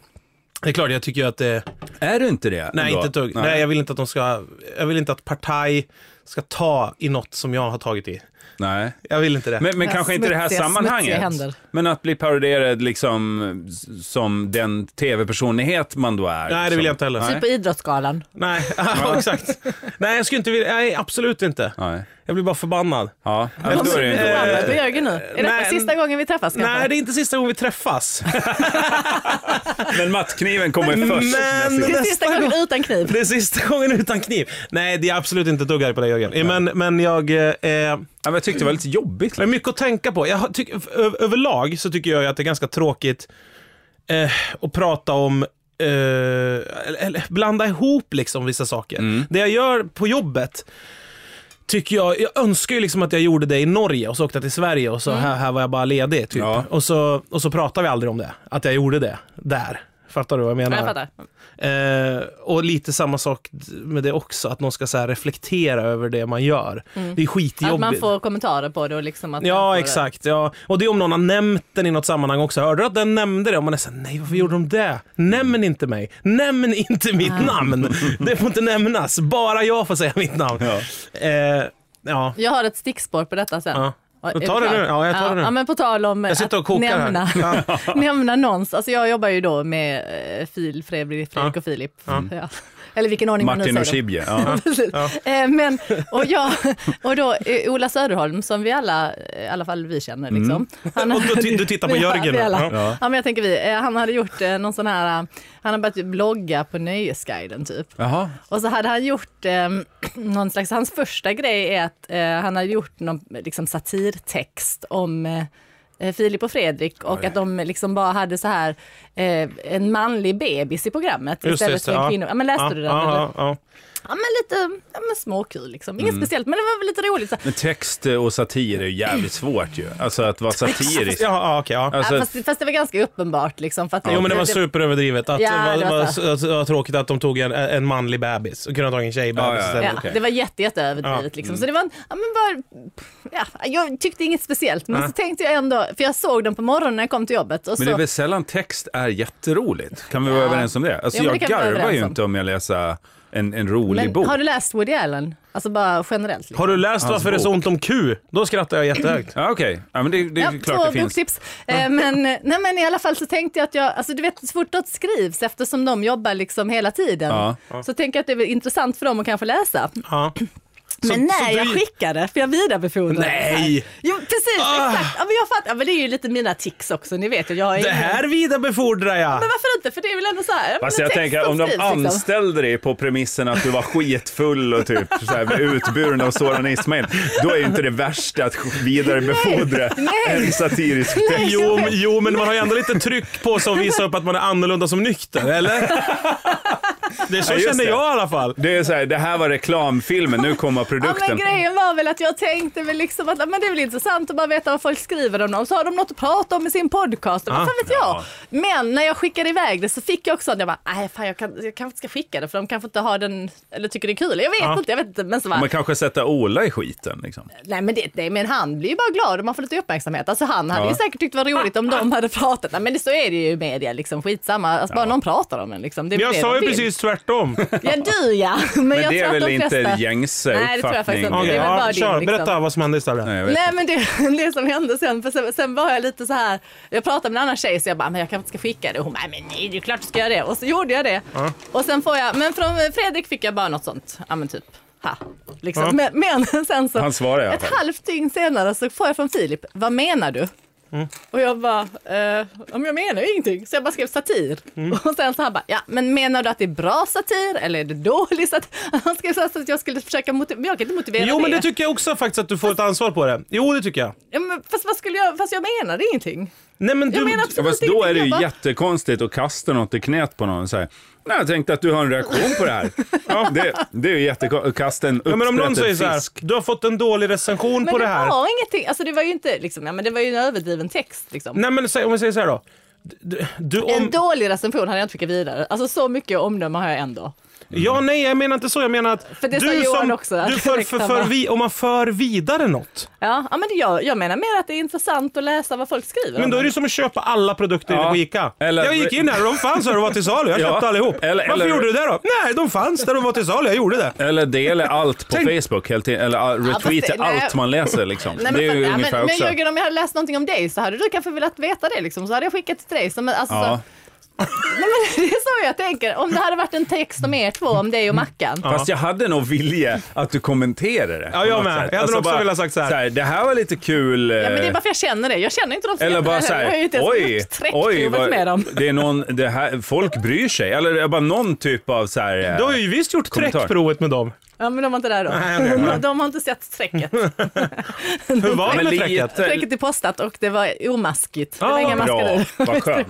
S1: Det är klart, jag tycker ju att det...
S3: Är du inte det?
S1: Nej,
S3: ändå?
S1: inte ett dugg. Nej. jag vill inte att de ska... Jag vill inte att partaj ska ta i något som jag har tagit i.
S3: Nej.
S1: Jag vill inte det.
S3: Men, men
S2: Ja,
S3: kanske inte i det här
S2: smutsiga- smutsiga
S3: sammanhanget.
S2: händer.
S3: Men att bli parodierad liksom s- som den tv-personlighet man då är. liksom.
S1: Nej, det vill jag inte heller.
S3: Nej.
S2: Typ på Idrottsgalan.
S1: Nej, ja, exakt. Nej, jag skulle inte vilja... Nej, absolut inte.
S3: Nej.
S1: Jag blir bara förbannad.
S3: Ja, men då är det
S1: Eh,
S3: inte
S2: Förbannad på Jörgen nu. Är detta
S1: nej,
S2: sista gången vi träffas kanske?
S1: Nej, det är inte sista gången vi träffas.
S3: Men mattkniven kommer först.
S1: Men-
S2: Det är
S1: nästa
S2: sista gången
S1: gång.
S2: utan kniv.
S1: Det är sista gången utan kniv. Nej, det är absolut inte ett dugg arg på dig Jörgen. Eh, Men, men jag... Eh, eh,
S3: Ja, men jag tyckte det var lite jobbigt.
S1: det är mycket att tänka på. Jag har tyck, ö- överlag så tycker jag ju att det är ganska tråkigt eh, att prata om eh, eller, eller blanda ihop liksom vissa saker.
S2: Mm.
S1: Det jag gör på jobbet Tycker jag, jag önskar ju liksom att jag gjorde det i Norge och så åkte jag till Sverige och så
S2: Mm.
S1: här, här var jag bara ledig. Typ.
S3: Ja.
S1: Och, så, och så pratar vi aldrig om det, att jag gjorde det där. Fattar du vad jag menar?
S2: Jag fattar.
S1: Eh, och lite samma sak d- med det också, att någon ska så här reflektera över det man gör. Det är skitjobbigt.
S2: Mm. Att man får kommentarer på det och liksom att man
S1: Ja,
S2: får-
S1: exakt. Ja. Och det är om någon har nämnt den i något sammanhang också. Hörde du att den nämnde det? Och man är såhär, nej varför gjorde de det? Nämn inte mig. Nämn inte mitt
S2: Ah.
S1: namn. Det får inte nämnas. Bara jag får säga mitt namn.
S3: Ja.
S1: Eh, ja.
S2: Jag har ett stickspår på detta sen.
S1: Ja.
S2: Är
S1: Men
S2: du
S1: ta det
S2: klar?
S1: nu. Ja, jag tar det nu.
S2: Ja, men på tal om eh,
S1: Jag sitter och
S2: att
S1: kokar här.
S2: nämna, nämna någons. Alltså jag jobbar ju då med eh, Fil, Fredrik, Fredrik och Filip. Ja. Eller vilken ordning man nu
S3: Martin
S2: säger
S3: och
S2: det.
S3: Shibje. Ja.
S2: Precis. Eh, Men, och, jag, och då eh, Ola Söderholm som vi alla, eh, i alla fall vi känner liksom. Han,
S1: Mm. Och du, du tittar på
S2: vi-
S1: Jörgen
S2: vi
S1: nu.
S2: alla.
S1: Ja.
S2: Ja. men jag tänker vi. Eh, Han hade gjort eh, någon sån här, eh, han har börjat blogga på Nöjesguiden typ.
S3: Jaha.
S2: Och så hade han gjort eh, någon slags, hans första grej är att eh, han hade gjort någon liksom, satirtext om eh, eh, Filip och Fredrik och
S3: Oj.
S2: att de liksom bara hade så här eh, en manlig bebis i programmet
S1: Just det,
S2: istället
S1: just det.
S2: för en
S1: Ja.
S2: kvinna. Ja, men läste
S1: Ja,
S2: du den? eller?
S1: ja, ja.
S2: Ja men lite ja, men småkul liksom. Inget
S3: Mm.
S2: speciellt men det var väl lite roligt. Så.
S3: Men text eh, och satir är ju jävligt svårt ju. Alltså att vara satirisk.
S1: Ja, ja, okej. ja.
S3: Alltså,
S2: ja, fast, fast det var ganska uppenbart liksom. För att
S1: Jo men det var superöverdrivet. Att,
S2: Ja,
S1: det
S2: det
S1: var,
S2: var
S1: var,
S2: så.
S1: så- så tråkigt att de tog en, en manlig bebis och kunde ha tagit en
S3: Ja,
S1: tjejbebis
S3: ja, ja.
S1: istället.
S2: Ja,
S3: okej. mm.
S2: Det var jätte, jätte överdrivet
S1: Ja.
S2: liksom. Så det var, en- ja, men bara, ja, jag tyckte inget speciellt men så tänkte jag ändå, för jag såg dem på morgonen när jag kom till jobbet. Och
S3: Men det är
S2: så,
S3: väl sällan text är jätteroligt? Kan vi vara
S2: Ja.
S3: överens om det? Alltså
S2: Jo, men
S3: jag
S2: det kan vi vara
S3: garvar ju
S2: överens om.
S3: inte om jag läser en, en rolig
S2: Men
S3: bok.
S2: har du läst Woody Allen? Alltså bara generellt. Liksom.
S1: Har du läst
S3: Hans
S1: Varför det är så
S3: bok.
S1: ont om Q? Då skrattar jag jättehögt.
S3: Ja, Okej, ja, men det, det är
S2: Ja,
S3: klart det
S2: två
S3: finns.
S2: boktips. Eh, Men, eh, nej, men i alla fall så tänkte jag att jag, alltså du vet så fort något skrivs eftersom de jobbar liksom hela tiden
S3: Ja.
S2: så tänker jag att det är väl intressant för dem att kanske läsa.
S1: Ja. Så-
S2: men
S1: så
S2: när jag
S1: du-
S2: skickade, för jag vidarebefordrade.
S1: Nej!
S2: Jo precis, exakt. Ja, men jag fattar, ja, men det är ju lite mina tics också, ni vet ju. Jag har
S1: Det
S2: ingen-
S1: här vidarebefordrar jag.
S2: Men varför inte? För det är väl ändå så här. ja, men
S3: Alltså
S2: en
S3: jag
S2: text
S3: tänker
S2: som
S3: om de
S2: skrivs, liksom.
S3: anställde dig på premissen att du var skitfull och typ så här, utburen av Soran Ismail, då är ju inte det värsta att vidarebefordra
S2: nej.
S3: en satirisk
S2: Nej.
S3: text.
S1: Jo, men- jo, men man har ju ändå lite tryck på sig att visa upp att man är annorlunda som nykter, eller? Det är så
S3: Ja, just
S1: känner
S3: det.
S1: jag i alla fall.
S3: Det är så här, det här var reklamfilmen, nu kommer
S2: Ja, men
S3: produkten.
S2: grejen var väl att jag tänkte väl liksom att ja, men det är väl intressant att bara veta vad folk skriver om dem. Så har de något att prata om i sin podcast. Vad
S1: Ah,
S2: fan vet jag? Men när jag skickade iväg det så fick jag också att jag bara, nej fan jag, kan, jag kanske inte ska skicka det för de kanske inte har den eller tycker det är kul. Jag vet
S1: Ja.
S2: inte, jag vet inte. Men så bara,
S3: Man kanske sätter Ola i skiten liksom.
S2: nej men, det, nej men han blir ju bara glad om man får lite uppmärksamhet. Alltså han hade
S3: Ja.
S2: ju säkert tyckt det var roligt om de hade pratat. Nej men det, så är det ju i media liksom, skitsamma. Alltså bara någon pratar om en liksom. Det är
S1: Jag
S2: det
S1: sa
S2: de
S1: ju
S2: vill.
S1: precis tvärtom.
S2: Ja du ja. Men,
S3: Men
S2: jag
S3: det
S2: tror
S3: är
S2: att
S3: väl
S2: de flesta...
S3: inte gängse
S2: Nej, det tror jag
S3: uppfattning?
S2: faktiskt inte.
S1: Okej,
S2: Det är väl bara
S1: ja,
S2: din,
S1: kör.
S2: liksom.
S1: Berätta vad som hände istället.
S3: Nej, jag vet.
S2: Nej men det, det som hände sen, för sen, sen var jag lite så här, jag pratade med en annan tjej så jag bara, men jag kanske inte ska skicka det. Och hon bara, men nej det är klart du ska göra det. Och så gjorde jag det. Och sen får jag, men från Fredrik fick jag bara något sånt, ja men typ, ha. Liksom.
S1: Ja.
S2: Men, men sen så,
S3: Han svarar i alla
S2: ett
S3: fall.
S2: halvt dygn senare så får jag från Filip, vad menar du?
S3: Mm.
S2: Och jag bara, eh, om jag menar ju ingenting. Så jag bara skrev satir.
S3: Mm.
S2: Och sen så han bara, ja men menar du att det är bra satir eller är det dålig satir? Han skrev så här så att jag skulle försöka motivera, men jag kan inte motivera
S1: Jo,
S2: det.
S1: men det tycker jag också faktiskt att du får ett ansvar på det. Jo, det tycker jag.
S2: Ja, men fast, vad skulle jag, fast jag menade ingenting.
S1: Nej, men
S2: Jag
S1: du...
S2: menar
S3: Ja,
S2: absolut
S3: fast då är det
S2: ingenting.
S3: ju
S2: Jag bara-
S3: jättekonstigt att kasta något i knät på någon och säga Nej, jag tänkte att du har en reaktion på det här. Ja, det, det är ju jättekonstigt. Kasta en
S1: Ja, men om någon säger så
S3: uppsprättad
S1: här,
S3: fisk.
S1: du har fått en dålig recension
S2: Men
S1: på
S2: det
S1: det här.
S2: var ingenting, alltså det var ju inte liksom, ja, men det var ju en överdriven text liksom.
S1: Nej, men säg- om jag säger så här då. Du, du,
S2: En
S1: om...
S2: dålig recension hade jag inte skickat vidare. Alltså så mycket omdöme har jag ändå.
S1: Ja, nej, jag menar inte så. Jag menar att
S2: För det sa
S1: du
S2: Johan
S1: som...
S2: också, att
S1: Du för, för, för, vi, om man för vidare något.
S2: Ja, ja men det, jag, jag menar mer att det är intressant att läsa vad folk skriver.
S1: Men
S2: om
S1: då är
S2: en.
S1: det som att köpa alla produkter
S3: Ja,
S1: på Ica.
S3: eller-
S1: jag gick in här och de fanns här och var till salu. Jag
S3: Ja,
S1: köpte allihop.
S3: eller-
S1: Varför
S3: eller-
S1: gjorde du det då? Nej, de fanns där de var till salu. Jag gjorde det.
S3: Eller dela allt på Facebook, helt i- eller all-
S2: fast det-
S3: retweeta
S2: nej.
S3: allt man läser liksom.
S2: Nej,
S3: det är
S2: men,
S3: ju
S2: fan, ja,
S3: ungefär
S2: men, men
S3: också.
S2: Jörgen, om jag hade läst någonting om dig så hade du kanske velat veta det liksom. Så hade jag skickat till dig. Som, alltså,
S3: Ja.
S2: så, nej, men det är så jag tänker. Om det hade varit en text om er två, om dig och Mackan.
S3: Fast jag hade nog vilja att du kommenterade det.
S1: Ja, jag
S3: på något
S1: med.
S3: sätt.
S1: Jag hade också velat sagt så här.
S3: Det här var lite kul. eh,
S2: Ja, men det är bara för jag känner det. Jag känner inte de som
S3: Eller
S2: gör
S3: bara
S2: det
S3: så
S2: heller. Jag har ju
S3: här,
S2: inte ens
S3: oj,
S2: uppsträckt
S3: oj,
S2: huvudet
S3: vad,
S2: med dem.
S3: det är någon, det här, folk bryr sig. Eller det är bara någon typ av så här... eh,
S1: Du har ju visst gjort
S3: Kommentar.
S1: träckprovet med dem.
S2: Ja, men de var inte där då.
S1: Nej, nej, nej.
S2: De, de har inte sett strecket.
S1: Hur var det
S3: Men
S1: med
S3: lite-
S1: träcket?
S2: Strecket är postat och det var omaskigt. Det var
S1: Ah,
S2: inga maskar
S3: Bra,
S2: i.
S3: vad skönt.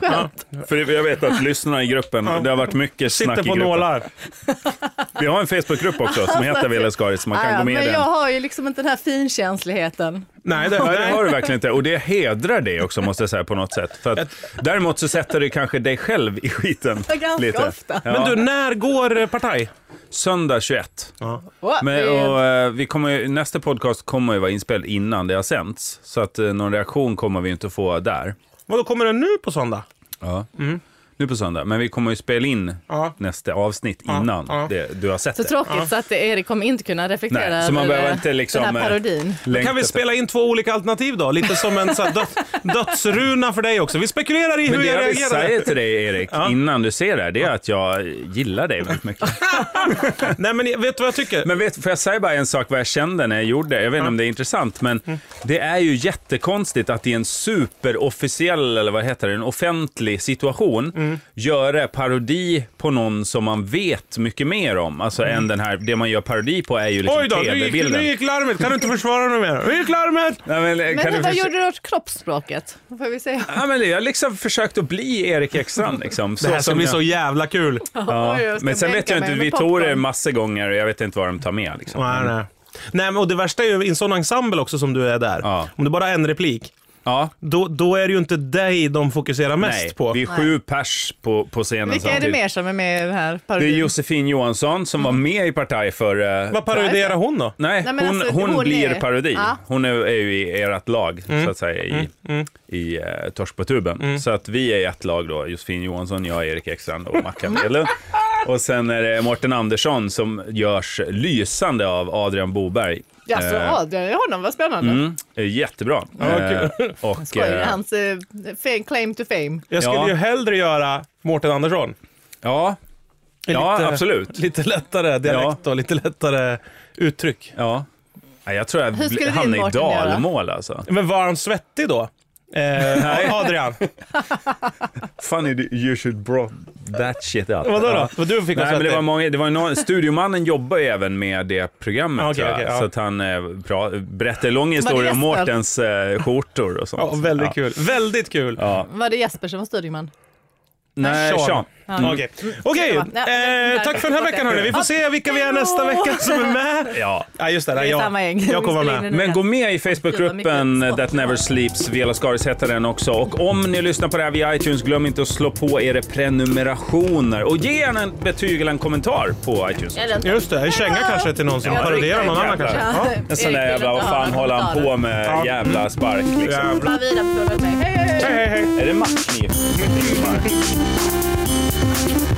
S3: Ja. För jag vet att lyssnarna i gruppen, det har varit mycket snack
S1: Sitter
S3: i
S1: på
S3: gruppen.
S1: nålar.
S3: Vi har en Facebookgrupp också som heter Ville Skaris, man kan
S2: Ah, ja,
S3: gå med
S2: men
S3: i
S2: jag
S3: den.
S2: har ju liksom inte den här finkänsligheten.
S1: Nej, det,
S3: Nej, det har
S1: nej.
S3: du verkligen inte. Och det hedrar dig också måste jag säga på något sätt. För att, däremot så sätter du kanske dig själv i skiten.
S2: Ja, ganska
S3: lite.
S2: ofta.
S3: Ja.
S1: Men du, när går eh, partaj?
S3: Söndag 21.
S2: Åh,
S3: Men,
S2: det är-
S3: och, eh, vi kommer, ju- nästa podcast kommer ju vara inspelad innan det har sänts. Så att eh, någon reaktion kommer vi inte få där.
S1: Vadå, kommer den nu på söndag?
S3: Ja. Nu på söndag. Men vi kommer ju spela in
S1: Ja.
S3: nästa avsnitt innan
S1: ja.
S3: Det, du har sett
S2: Så
S3: det.
S2: tråkigt så att Erik kommer inte kunna reflektera
S3: Nej, så man
S2: över
S3: behöver inte liksom...
S2: den här
S3: eh,
S2: parodin.
S3: längta
S1: Kan vi
S3: efter-
S1: spela in två olika alternativ då? Lite som en så här, döds, dödsruna för dig också. Vi spekulerar i
S3: Men
S1: hur
S3: det
S1: jag
S3: jag vill
S1: reagerade.
S3: säga till dig Erik, innan du ser det här, det är att jag gillar dig väldigt mycket.
S1: Nej, men vet du vad jag tycker?
S3: Men vet, får jag säga bara en sak vad jag kände när jag gjorde det? Jag vet inte om det är intressant, men det är ju jättekonstigt att i en superofficiell, eller vad heter det, en offentlig situation, göra parodi på någon som man vet mycket mer om. Alltså än den här, det man gör parodi på är ju liksom
S1: Oj då, nu gick,
S3: tv-bilden.
S1: nu gick larmet. Kan du inte försvara dig mer? Nu gick larmet!
S3: Nej, men, eh,
S2: Men
S3: kan du
S2: vad
S3: förs-
S2: gjorde du åt kroppsspråket? Då Får vi se.
S3: Ja, men jag har liksom försökt att bli Erik Ekstrand. Liksom,
S1: Det här ska
S3: som
S1: bli
S3: jag-
S1: så jävla kul.
S2: Oj,
S3: Ja.
S2: jag ska
S3: Men sen vet
S2: bänka
S3: jag
S2: mig
S3: inte,
S2: med
S3: vi tog det
S2: popcorn.
S3: massor gånger och jag vet inte vad de tar med. Liksom.
S1: Nej, nej. Nej, men och det värsta är ju i en sån ensemble också som du är där.
S3: Ja.
S1: Om det bara är en replik,
S3: Ja.
S1: då, då är det ju inte dig de fokuserar mest
S3: Nej,
S1: på.
S3: vi är sju pers på, på scenen
S2: Vilka är det
S3: samtidigt.
S2: mer som är med i den här
S3: Det är
S2: parodin?
S3: Josefin Johansson som var med i Partaj för... eh,
S1: Vad parodierar hon då?
S3: Nej,
S2: Nej,
S3: hon,
S2: men alltså,
S3: hon,
S2: hon
S3: blir
S2: är-
S3: parodi.
S2: Ja. Mm.
S3: Hon är, är ju i ert lag, så att säga, i, i eh, Torsk på tuben. Så att vi är ett lag då, Josefin Johansson, jag, Erik Ekstrand och Mackan Edlund. Och sen är det Mårten Andersson som görs lysande av Adrian Boberg.
S2: Jaså,
S3: Eh,
S2: Adrian i honom, vad spännande.
S3: Mm, eh, jättebra.
S1: Ja,
S3: Eh, och,
S2: Skoj,
S3: eh,
S2: hans eh, fa- claim to fame.
S1: Jag skulle
S3: Ja.
S1: ju hellre göra Mårten Andersson.
S3: ja,
S1: Är
S3: ja
S1: lite-
S3: absolut.
S1: Lite lättare dialekt och lite lättare uttryck.
S3: Ja. Nej, jag tror jag
S2: Hur skulle
S3: bli-
S2: din
S3: hamnar i
S2: Mårten göra?
S3: dalmål alltså.
S1: Men var han svettig då? Eh, Adrian,
S3: Funny you should brought that shit up.
S1: vadå
S3: Ja.
S1: då? Vad du fick vara
S3: Nej, men det
S1: svettig?
S3: var många, det var ju någon, studiomannen jobbar ju även med det programmet
S1: Ah, Okej,
S3: tror jag.
S1: okej, ja.
S3: Så att han eh, pra, berättar lång historia
S2: gästen.
S3: om Mårtens eh, skjortor och sånt.
S1: Ja, väldigt
S3: Ja.
S1: kul. Väldigt kul.
S3: Ja.
S2: Var det Jesper som var studieman?
S3: Nej,
S1: Sean.
S3: Sean.
S1: Mm. Okej, Okej,
S2: Mm.
S1: eh, tack för den här veckan hörni. Vi får se vilka vi är nästa vecka som är med.
S3: Ja.
S1: Ja, just det.
S2: är
S1: jag,
S2: samma gäng.
S1: jag kommer
S2: Vi
S1: vara
S2: spelar
S1: med.
S2: in
S3: Men gå med i
S2: Gud, vad
S3: Facebookgruppen
S2: mycket
S3: That Never Sleeps. Vela Skaris heter den också. Och om ni lyssnar på det här via iTunes, glöm inte att slå på era prenumerationer. Och ge gärna en betyg eller en kommentar på iTunes.
S2: Eller
S1: Just det, en känga kanske till någon som
S3: Ja,
S1: parodierar någon annan
S3: riktigt
S1: kanske.
S3: jävla.
S1: Ja.
S3: En sån där jävla, vad fan håller han på med?
S1: Ja.
S3: Jävla spark liksom.
S1: Jävlar.
S2: Hej, hej, hej!
S1: Hej, hej, hej.
S3: Är det matchkniv?